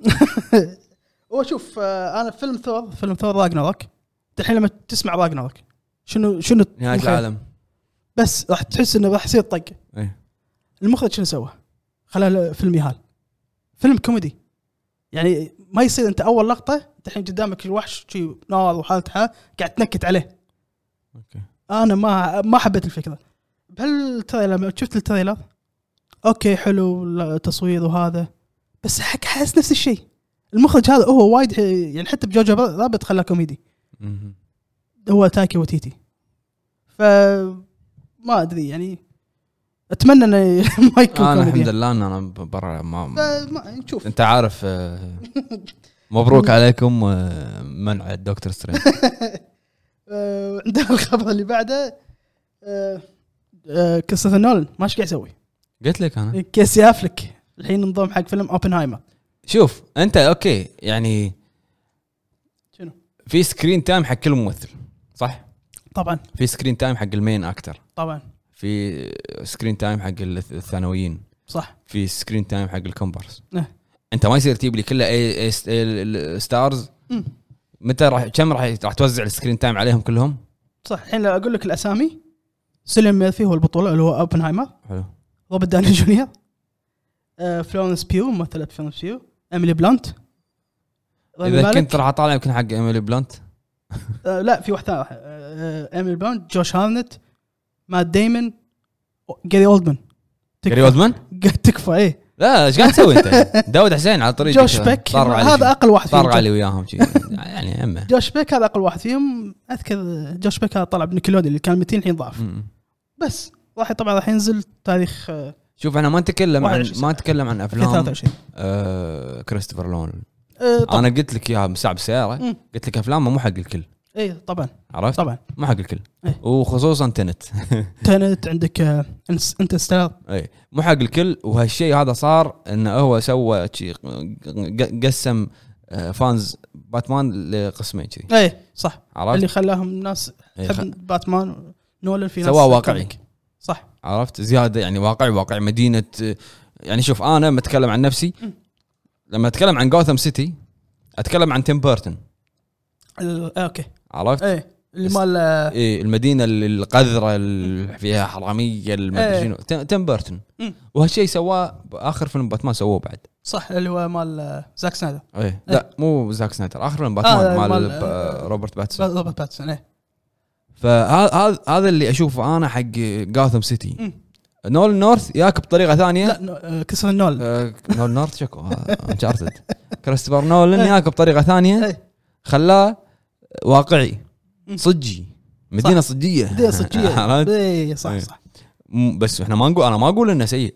هو شوف آه، انا فيلم ثور فيلم ثور راجناروك أنت الحين لما تسمع راجناروك شنو شنو
نهايه
المخرج؟
العالم
بس راح تحس انه راح يصير طق
ايه
المخرج شنو سوى؟ خلاه له فيلم يهال فيلم كوميدي يعني ما يصير انت اول لقطه انت الحين قدامك الوحش شي نار وحالته حال قاعد تنكت عليه
اوكي
انا ما ما حبيت الفكره بهالتريلر لما شفت التريلر اوكي حلو التصوير وهذا بس حق حاسس نفس الشيء المخرج هذا هو وايد يعني حتى بجوجو رابط خلاه كوميدي
مهم.
هو تاكي وتيتي ف ما ادري يعني اتمنى انه <laughs> ما يكون
انا
كوميدي
الحمد لله ان انا برا ما
فما نشوف
انت عارف آه، مبروك عليكم آه، منع الدكتور سترينج
<laughs> آه، عندنا الخبر اللي بعده آه، آه، قصه نولن ما ايش قاعد يسوي
قلت لك
إيه.
انا
كيسي افلك الحين انضم حق فيلم اوبنهايمر
شوف انت اوكي يعني
شنو؟
في سكرين تايم حق كل ممثل صح
طبعا
في سكرين تايم حق المين اكتر
طبعا
في سكرين تايم حق الث- الثانويين
صح
في سكرين تايم حق الكومبارس
إيه.
انت ما يصير تجيب لي كله اي اي ستارز
مم.
متى راح كم راح راح توزع السكرين تايم عليهم كلهم؟
صح الحين لو اقول لك الاسامي سيليان ميرفي هو البطوله اللي هو اوبنهايمر
حلو
روبرت داني جونيور آه، فلورنس بيو ممثله فلورنس بيو ايميلي بلانت رامي
اذا
طيب مالك.
كنت راح اطالع يمكن حق ايميلي بلانت
آه، لا في واحد ثاني راح. آه، آه، ايميلي بلانت جوش هارنت مات ديمون جاري اولدمان
جاري اولدمان؟
<laughs> تكفى ايه
لا ايش قاعد تسوي انت؟
<laughs>
داود حسين على طريق
جوش بيك هذا اقل واحد
طار
فيهم
علي وياهم شي. يعني عمه
جوش بيك هذا اقل واحد فيهم اذكر جوش بيك هذا طلع بنيكلودي اللي كان 200 الحين ضعف
م-م.
بس راح طبعا راح ينزل تاريخ آه،
شوف انا ما نتكلم عن
21
ما نتكلم عن افلام
23
آه كريستوفر لون
آه، طبعا
انا قلت لك اياها من ساعه بالسياره
مم.
قلت لك افلامه مو حق الكل
اي طبعا
عرفت؟
طبعا
مو حق الكل
إيه.
وخصوصا تنت <laughs>
تنت عندك آه، انت ستار
اي إيه. مو حق الكل وهالشيء هذا صار انه هو سوى شي ق- قسم آه، فانز باتمان لقسمين كذي
اي إيه، صح اللي
عرفت؟
خلاهم ناس
إيه، خ-
تحب باتمان نولن في ناس
سواه واقعي.
كوميك. صح
عرفت؟ زياده يعني واقع واقع مدينه آه، يعني شوف انا متكلم عن نفسي لما اتكلم عن جوثم سيتي اتكلم عن تيم بيرتون
ال- آه، اوكي
عرفت؟
ايه اللي
بس-
مال آه،
إيه المدينه اللي القذره اللي فيها حراميه المدري
إيه.
شنو تيم- تيم بيرتون
مم.
وهالشيء سواه باخر فيلم باتمان سووه بعد
صح اللي هو مال آه، زاك سنايدر
ايه لا مو زاك سنايدر اخر فيلم باتمان
آه،
مال,
مال-
ب- روبرت باتسون
روبرت باتسون ايه
فهذا هذا اللي اشوفه انا حق جاثم سيتي
مم.
نول نورث ياك بطريقه ثانيه
لا نو- آه، كريستوفر
<laughs>
نول
آه، نول نورث شكو انشارتد كريستوفر نولن ياك بطريقه ثانيه
إيه.
خلاه واقعي
مم.
صجي مدينه صجيه
دي صجيه
آه، <laughs> عرفت؟
اي صح
إيه.
صح
م- بس احنا ما نقول انا ما اقول انه سيء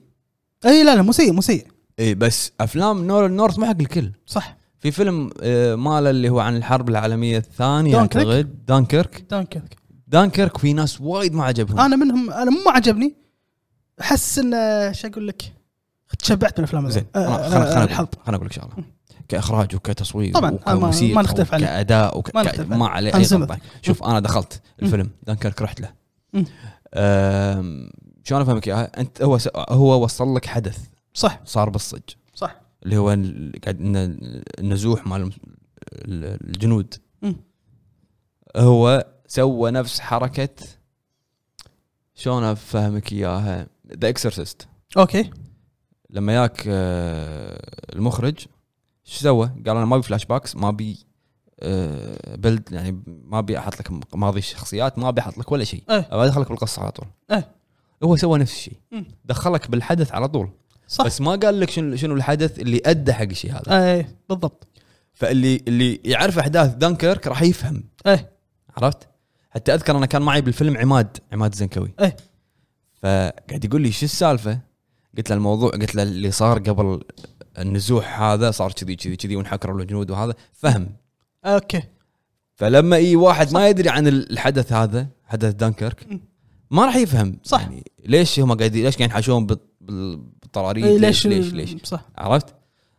اي إيه، لا لا مو سيء مو سيء
اي بس افلام نول نورث مو حق الكل
صح
في فيلم آه، ماله اللي هو عن الحرب العالميه الثانيه
دانكيرك.
اعتقد دانكيرك
دانكيرك
دانكيرك في ناس وايد ما عجبهم
انا منهم انا مو عجبني احس ان آه، شو اقول لك تشبعت من الافلام
زين
آه،
أنا-
آه،
خلنا
آه،
خلنا
الحرب
أقول- خلنا اقول لك شغله كاخراج وكتصوير
طبعاً، أنا ما-
وكموسيقى
ما نختلف عليه.
كاداء وك...
ما
ك-
نختلف
ما
عليه.
عليه
عن
اي
زمن.
غلطه شوف انا دخلت الفيلم دانكيرك رحت له
مم.
أم، شلون افهمك اياها؟ انت هو س... هو وصل لك حدث
صح
صار بالصج
صح
اللي هو ال- قاعد إن- النزوح مال الم- ال- الجنود
مم.
هو سوى نفس حركه شلون افهمك اياها ذا اكسورسيست
اوكي
لما ياك آه، المخرج شو سوى؟ قال انا ما ابي فلاش باكس ما ابي بلد يعني ما ابي احط لك م- ماضي شخصيات ما ابي احط لك ولا شيء
إيه.
ابي ادخلك بالقصه على طول
إيه.
هو سوى نفس الشيء
مم.
دخلك بالحدث على طول
صح
بس ما قال لك شنو شنو الحدث اللي ادى حق الشيء هذا
اي إيه، بالضبط
فاللي اللي يعرف احداث دانكيرك راح يفهم
ايه
عرفت؟ حتى اذكر انا كان معي بالفيلم عماد عماد الزنكوي
إيه.
فقاعد يقول لي شو السالفه؟ قلت له الموضوع قلت له اللي صار قبل النزوح هذا صار كذي كذي كذي وانحكروا الجنود وهذا فهم
اوكي
فلما اي واحد ما يدري عن الحدث هذا حدث دانكيرك
مم.
ما راح يفهم
صح.
يعني ليش هم قاعدين ليش قاعدين ينحشون بال- بال- بالطراريد
إيه،
ليش ليش ليش
صح
عرفت؟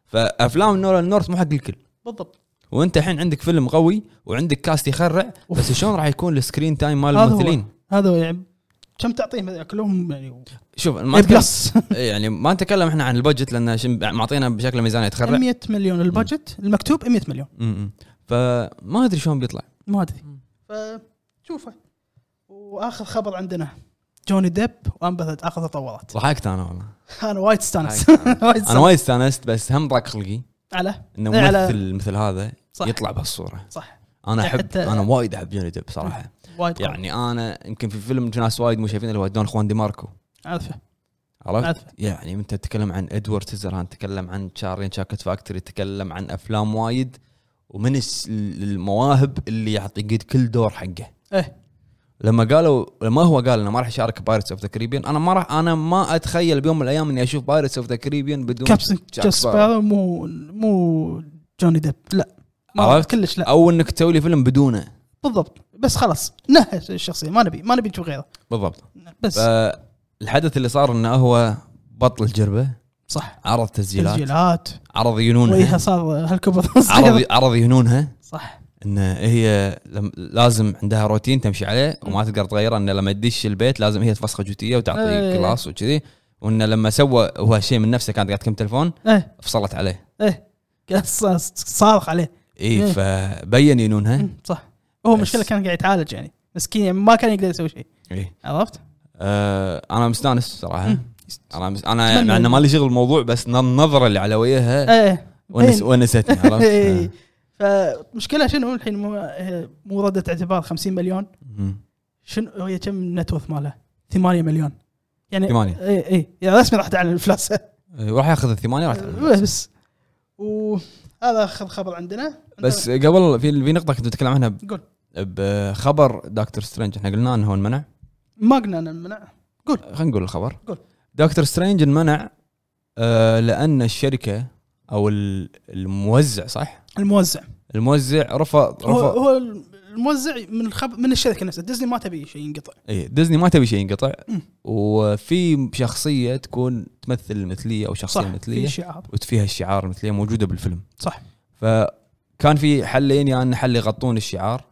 فافلام نورال نورث مو حق الكل
بالضبط
وانت الحين عندك فيلم قوي وعندك كاست يخرع
أوف.
بس شلون راح يكون السكرين تايم مال
هذا هو.
الممثلين؟
هذا هو يعني كم تعطيهم كلهم يعني
شوف ما
ما
نتكلم
بلس
يعني ما نتكلم احنا عن البادجت لان شن- معطينا بشكل ميزانيه
<laughs>
تخرع
100 مليون البادجت المكتوب 100 مليون
م- م. فما ادري شلون بيطلع
ما ادري
مم.
فشوفه واخر خبر عندنا جوني ديب وانبثت اخذ تطورات
ضحكت انا والله
انا وايد استانس
ضحكت أنا.
<laughs> وايد
انا
استانس
وايد استانست بس هم ضاق خلقي
على
انه
إيه، على-
ممثل مثل هذا
صح.
يطلع بهالصوره
صح
انا
يعني
احب
حتى- أه.
انا وايد احب جوني ديب صراحه
وايد قوي.
يعني انا يمكن في فيلم ناس وايد مو شايفين اللي هو دون خوان دي ماركو
عارفه
عرفت؟
عارفه
يعني انت تتكلم عن ادوارد سيزرهاند تتكلم عن شارلين شاكت فاكتوري تتكلم عن افلام وايد ومن الس- المواهب اللي يعطي قد كل دور حقه
ايه
لما قالوا لما هو قال انه ما راح يشارك بايرتس اوف ذا كاريبيان انا ما راح انا ما اتخيل بيوم من الايام اني اشوف بايرتس اوف ذا كاريبيان بدون
كابتن
جاك
جاك
سبارو.
سبارو مو مو جوني ديب لا ما
عرفت؟
كلش لا
او انك تسوي لي فيلم بدونه
بالضبط بس خلاص نهى الشخصيه ما نبي ما نبي نشوف غيره
بالضبط
بس
فالحدث اللي صار انه هو بطل الجربه
صح
عرض تسجيلات
تسجيلات
عرض
وجهه
ينونها
صار هالكبر أيوه.
عرض عرض ينونها
صح
ان هي لم- لازم عندها روتين تمشي عليه وما تقدر تغيره ان لما تدش البيت لازم هي تفسخ جوتيه وتعطي
إيه.
كلاس وكذي وانه لما سوى هو شيء من نفسه كانت قاعد تكلم تلفون
ايه
فصلت عليه
ايه كان صا- صارخ عليه إيه.
اي فبين ينونها
مم، إيه، صح هو
بس.
مشكله كان قاعد يتعالج يعني مسكين يعني ما كان يقدر يسوي شيء
اي
عرفت؟
إيه. آه انا مستانس صراحه
مم.
انا مس... انا
إيه. أتمنى.
مع انه ما لي شغل الموضوع بس ن- النظره اللي على وجهها
ايه
ونس...
بين. <laughs>
ونستني إيه، عرفت؟ آه.
إيه. فمشكلة شنو الحين مو إيه، مو ردة اعتبار 50 مليون
مم.
شنو هي كم النت ورث مالها؟ 8 مليون يعني
ثمانية.
اي اي يعني رسمي راحت على الافلاس
إيه، وراح ياخذ الثمانيه راح تعمل.
بس وهذا اخر خبر عندنا
بس قبل في في نقطه كنت بتكلم عنها ب-
قول
بخبر دكتور سترينج احنا قلنا انه هو انمنع
ما قلنا أنا منع
خلينا نقول الخبر
قول.
دكتور سترينج انمنع آه لان الشركه او ال- الموزع صح؟
الموزع
الموزع رفض
هو,
رفض
هو الموزع من الخب... من الشركه نفسها ديزني ما تبي شيء ينقطع
إيه ديزني ما تبي شيء ينقطع
مم.
وفي شخصيه تكون تمثل المثليه او شخصيه
صح في
مثليه
شعار
وفيها الشعار المثليه موجوده بالفيلم
صح
فكان في حلين يا ان حل يغطون الشعار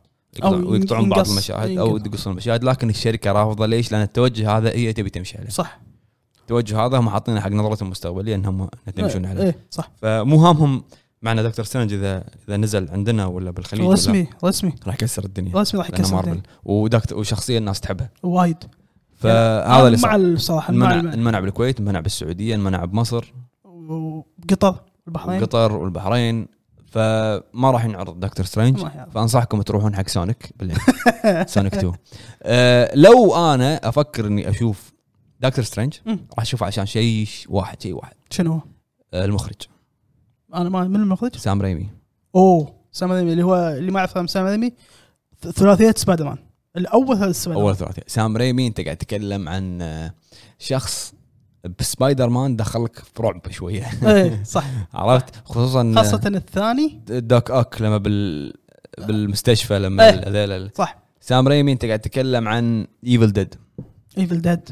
أو
يقطع- ويقطعون بعض
ينقص-
المشاهد او
ينقطع.
يقصون المشاهد لكن الشركه رافضه ليش؟ لان التوجه هذا هي تبي تمشي عليه
صح
التوجه هذا هم حاطينه حق نظرتهم المستقبليه انهم إنهم يمشون عليه
ايه صح
فمو هامهم معنا دكتور سترينج اذا اذا نزل عندنا ولا بالخليج ولا-
رسمي رسمي
راح يكسر الدنيا
رسمي راح
لانه
يكسر
مارفل
الدنيا.
ودكتور وشخصيه الناس تحبها
وايد
فهذا اللي
مع
صار
الصراحه مع
المنع
الم-
المنع بالكويت المنع بالسعوديه المنع بمصر
وقطر البحرين
قطر والبحرين فما راح ينعرض دكتور سترينج
ما يعرف.
فانصحكم تروحون حق سونيك بالليل
<laughs>
سونيك 2 أه لو انا افكر اني اشوف دكتور سترينج
مم.
راح اشوفه عشان شيء واحد شيء واحد
شنو هو؟
أه المخرج
انا ما من المخرج
سام ريمي
اوه سام ريمي اللي هو اللي ما يعرف سام ريمي ث- ثلاثيه سبايدر مان الاول ثلاثيه سبايدر مان
اول ثلاثي سام ريمي انت قاعد تتكلم عن آه، شخص بسبايدر مان دخلك في رعب شويه
ايه صح
<laughs> عرفت خصوصا
خاصه الثاني
دوك اوك لما بال بالمستشفى لما
إيه.
ال- هذيل ال-
صح.
سام ريمي انت قاعد تتكلم عن ايفل ديد
ايفل ديد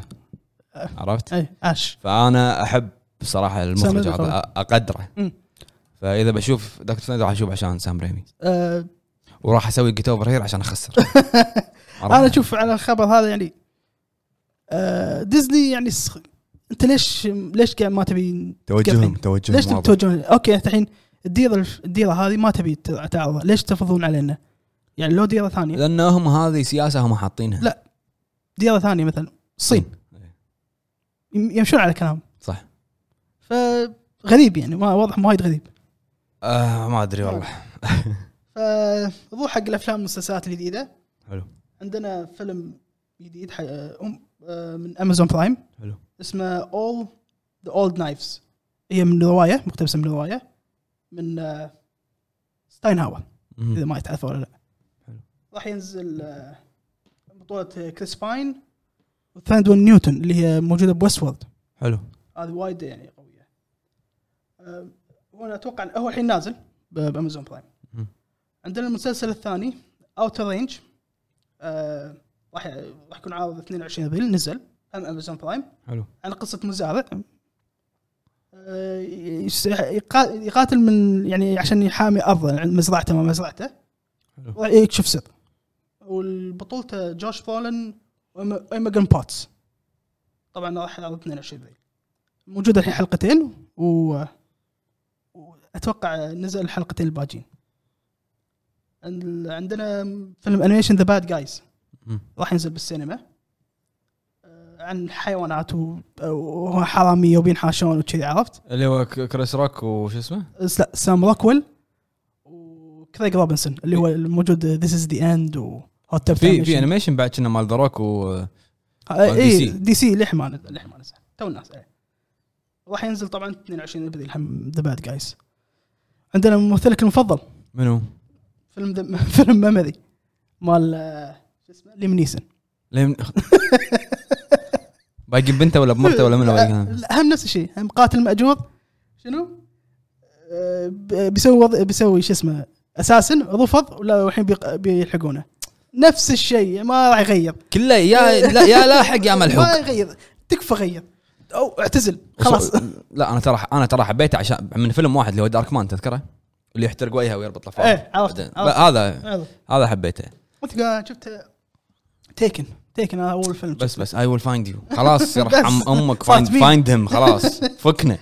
عرفت
ايه اش
فانا احب بصراحه
سام
المخرج
ريمي
هذا
طبعاً.
أ- اقدره
مم.
فاذا بشوف دكتور سنايدر راح اشوف عشان سام ريمي
آه،
وراح اسوي جيت اوفر هير
<laughs>
عشان اخسر
انا اشوف على الخبر هذا يعني آه، ديزني يعني سخ... انت ليش ليش قاعد ما تبي
توجههم توجههم
ليش
واضح.
تتوجهون اوكي انت الحين الديره الف- الديره هذه ما تبي ت- تعرضها ليش تفرضون علينا؟ يعني لو ديره ثانيه
لان هم هذه سياسه هم حاطينها
لا. ديره ثانيه مثلا الصين
إيه.
يم- يمشون على كلام
صح.
فغريب يعني ما واضح وايد غريب
آه ما ادري والله
فنروح حق الافلام والمسلسلات الجديده
حلو.
عندنا فيلم جديد حق أم- آه، من امازون برايم
حلو.
اسمه اول ذا اولد نايفز هي من روايه مقتبسه من روايه من آه، ستاينهاور اذا ما تعرفه ولا لا
حلو.
راح ينزل آه، بطولة آه، كريس باين وثاندون نيوتن اللي هي موجودة بويست وورلد
حلو
هذه وايد يعني قوية آه، وانا اتوقع إن هو الحين نازل ب- بامازون برايم
مم.
عندنا المسلسل الثاني اوتر رينج راح راح يكون عارض 22 ابريل نزل هم امازون برايم
حلو
عن قصة مزارع آه، يس- يقا- يقاتل من يعني عشان يحامي أرضه يعني مزرعته ما مزرعته
حلو.
يكشف سر والبطولة جوش بولن وإيمجن بوتس طبعا راح يعرض 22 ذي موجودة الحين حلقتين و... وأتوقع نزل الحلقتين الباجين عند- عندنا فيلم انيميشن ذا باد جايز
مم.
راح ينزل بالسينما آه، عن حيوانات و- وحراميه وبينحاشون وكذي عرفت؟
اللي هو ك- كريس روك وش اسمه؟
س- لا سام روكويل وكريغ روبنسون اللي هو الموجود ذيس از ذا اند وهوت
في في انيميشن بعد كنا مال ذا روك و
اي
DC.
آه، إيه، دي سي للحين ما نزل- للحين ما نزل تو الناس إيه. راح ينزل طبعا 22 ابريل هم ذا باد جايز عندنا ممثلك المفضل
منو؟
فيلم The- <laughs> فيلم ميموري مال آه، شو اسمه ليم نيسن
ليه <laughs> من- باقي بنته ولا بمرته ولا منو باقي؟
أه، لا، هم نفس الشيء هم قاتل ماجور شنو؟ آه، ب- بيسوي وض... بيسوي شو اسمه اساسن رفض ولا الحين بيق- بيلحقونه نفس الشيء ما راح يغير
كله يا لا يا لاحق يا
ما
<laughs> ملحوق
يغير تكفى غير او اعتزل خلاص
لا انا ترى انا ترى حبيته عشان من فيلم واحد اللي هو دارك مان تذكره؟ اللي يحترق وجهه ويربط لفافه
ايه عرفت
بعدين-
عرفت.
هذا
عرفت.
هذا حبيته
انت قاعد شفت تيكن تيكن هذا اول فيلم
بس بس اي ويل فايند يو خلاص <laughs> يرحم
بس.
امك
فات بيه.
فايند هم <laughs> خلاص فكنا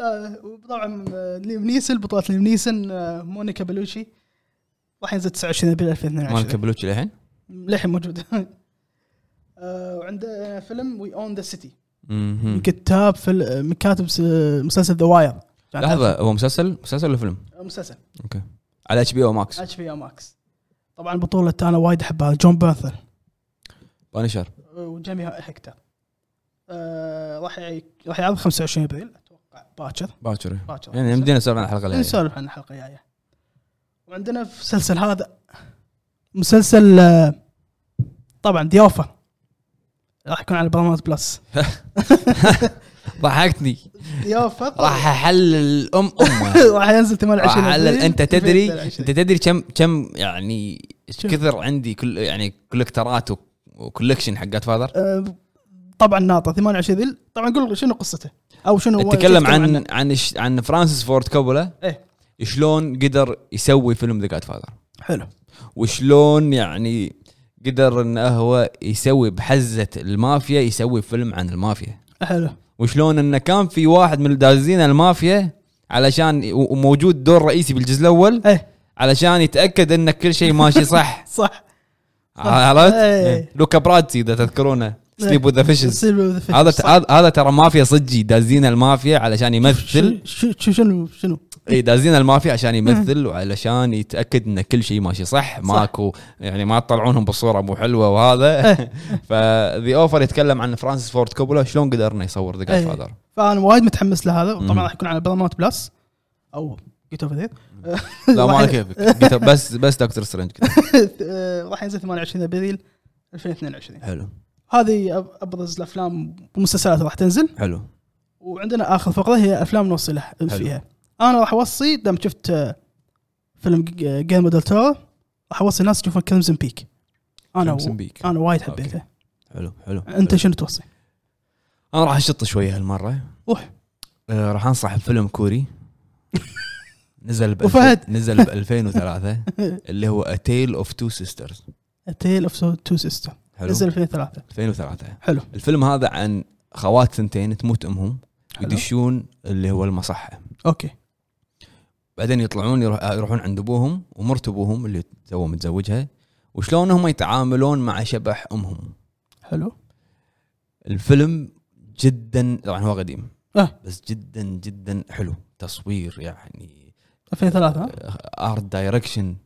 آه، وطبعا آه، ليم نيسن بطولة ليم نيسن آه، مونيكا بلوشي راح ينزل 29 ابريل 2022
<laughs> مالك بلوتشي للحين؟
للحين موجود <laughs> آه، وعنده فيلم وي اون ذا سيتي
مهم.
من كتاب فيل- من كاتب س- مسلسل ذا واير
لحظه هو مسلسل مسلسل ولا فيلم؟
مسلسل
اوكي على اتش بي او ماكس
اتش بي او ماكس طبعا بطولة انا وايد احبها جون بارثر
بانشر
وجيمي هكتر آه، راح ي- راح يعرض 25 ابريل اتوقع باكر
باكر
باكر
يعني يمدينا نسولف عن الحلقه الجايه
نسولف عن الحلقه الجايه وعندنا في مسلسل هذا مسلسل آه، طبعا ضيافه راح يكون على برنامج
<laughs>
بلس
ضحكتني
ضيافه
راح احلل الام
<laughs>
امه
راح ينزل 28
راح احلل
أبريل.
انت تدري
28.
انت تدري كم كم يعني
شوف.
كثر عندي كل يعني كولكترات و- وكولكشن حق جاد فاذر
آه، طبعا ناطر 28 ذيل طبعا قول شنو قصته او شنو هو-
اتكلم
شو عنه؟
عن عن ش- عن فرانسيس فورد كوبولا
إيه.
شلون قدر يسوي فيلم ذا جاد فاذر
حلو
وشلون يعني قدر انه هو يسوي بحزه المافيا يسوي فيلم عن المافيا
حلو
وشلون انه كان في واحد من دازين المافيا علشان وموجود دور رئيسي بالجزء الاول
ايه
علشان يتاكد ان كل شيء ماشي
<laughs>
صح <laughs>
صح
عرفت؟
إيه.
لوكا برادسي اذا تذكرونه سليب
<laughs>
وذ فيشز
سيلفر وذ فيشز،
هذا
صح.
هذا- هذا ترى مافيا صجي دازين المافيا علشان يمثل
شو شو- شنو شنو
اي دازين المافيا عشان يمثل وعلشان يتاكد ان كل شيء ماشي صح ماكو يعني ما تطلعونهم بصوره مو حلوه
<laughs>
وهذا فذي اوفر يتكلم عن فرانسيس فورد كوبولا شلون قدر انه يصور ذا
إيه.
فادر
فانا وايد متحمس لهذا وطبعا
مم.
راح يكون على بلامات بلس او جيت اوف <laughs> ذيت
لا ما على كيفك قلت بس بس دكتور سترينج
أه، راح ينزل 28 ابريل 2022
حلو
هذه أب- ابرز الافلام والمسلسلات راح تنزل
حلو
وعندنا اخر فقره هي افلام نوصي له فيها انا راح اوصي دام شفت آه، فيلم آه، جيم ديل تورو راح اوصي الناس يشوفون كريمزن بيك انا
Crimson Peak.
انا وايد
أوكي.
حبيته
حلو حلو
انت شنو توصي؟
انا راح اشط شويه هالمره
روح
آه، راح انصح
<laughs>
بفيلم كوري نزل ب
وفهد.
نزل ب 2003 اللي هو A Tale of Two Sisters
تيل اوف تو سيستم
حلو
نزل 2003
2003
حلو
الفيلم هذا عن خوات ثنتين تموت امهم
حلو.
يدشون اللي هو المصحه
اوكي
بعدين يطلعون يروح- يروحون عند ابوهم ومرت ابوهم اللي تو متزوجها وشلون هم يتعاملون مع شبح امهم
حلو
الفيلم جدا طبعا هو قديم
آه.
بس جدا جدا حلو تصوير يعني
2003 ها؟
ارت دايركشن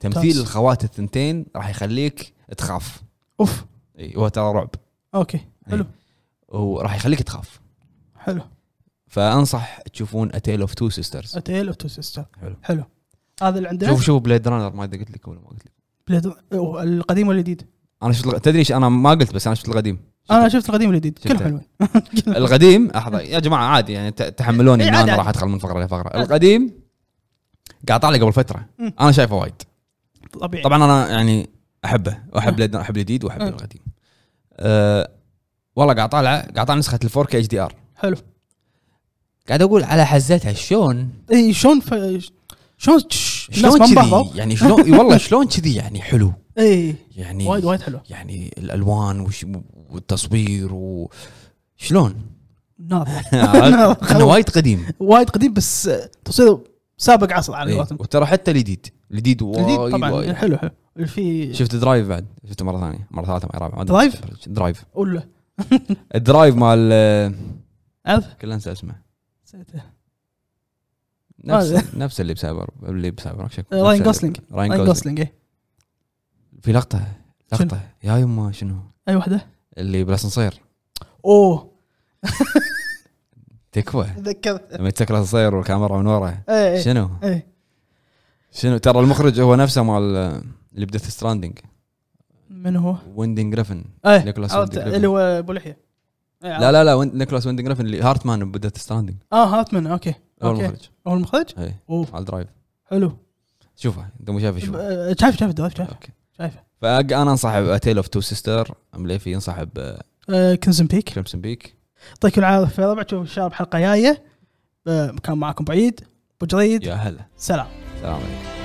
تمثيل
ممتاز.
الخوات الثنتين راح يخليك تخاف
اوف
إي، هو ترى رعب
اوكي حلو
إيه. وراح يخليك تخاف
حلو
فانصح تشوفون اتيل اوف تو سيسترز
تيل اوف تو سيستم
حلو.
حلو هذا اللي عندنا
شوف شوف بليد رانر ما أدري قلت لك ولا ما قلت لك
بلاد أوه، القديم والجديد
انا شفت الغ- تدري إيش انا ما قلت بس انا
<laughs>
شفت القديم
انا شفت القديم والجديد
شفته.
كلهم حلوين
القديم لحظه يا جماعه عادي يعني ت- تحملوني
إي،
إن
عادي،
انا
عادي. أه.
راح ادخل من فقره لفقره القديم قاعد طالع قبل فتره
مم.
انا شايفه وايد
طبيعي
طبعا انا يعني احبه واحب
أه.
بليد رانر- احب الجديد واحب
أه.
القديم أه والله قاعد طالع قاعد طالع نسخه الفور كي اتش دي ار
حلو
قاعد اقول على حزتها شلون
اي إيه، شلون ف... شلون تش- الناس
شلون
ما
كذي
انبهروا إيه.
يعني شلون إي
<laughs>
والله شلون كذي يعني حلو
اي
يعني
وايد وايد حلو
يعني الالوان وش والتصوير
<laughs>
وشلون
ناظر
<laughs> عرفت؟ انه وايد قديم
وايد قديم بس آه، تصوير سابق عصر على
إي،
قولتهم
وترى حتى الجديد الجديد
الجديد
إيه.
إيه.
وايد
طبعا
وايد
يعني حلو حلو في
شفت درايف بعد شفته مره ثانيه مره ثالثه مره رابعه
درايف؟
درايف
ولا
الدرايف مال
عارف
كله انسى اسمه
نسيته. آه.
نفس نفس اللي بسايبر اللي بسايبر روك شكله.
راين
نفس اللي-
جوسلينج.
راين
راين
جوسلينج
جوسلينج إيه.
في لقطه لقطه يا يما شنو
اي واحده
اللي بالاسانسير
اوه
تكفى
تذكرت إيه،
لما يتسكر الاسانسير والكاميرا من ورا
اي إي.
شنو
اي
شنو ترى المخرج هو نفسه مال اللي بديث ستراندنج
من هو؟
ويندين جريفن
ايه
نيكولاس
عرفت،
ويندين
اللي هو إيه، ابو لحيه
لا لا لا وين- نيكولاس ويندين جريفن اللي هارتمان بديث ستراندنج
اه هاتمان اوكي
هو
اوكي
المخرج
هو المخرج؟
اي
اوه
على الدرايف
حلو
شوفه انت مو شايفه شوفه
آه، شايف شايف الدرايف شايف
اوكي
شايفه
فانا انصح بتيل اوف تو سيستر مليفي ينصح
آه، كنزن بيك
بكريمسون بيك
يعطيكم العافيه يا ربع تشوفوا إن شاء الله بحلقه جايه آه، كان معاكم بعيد ابو جريد
يا هلا
سلام
سلام عليكم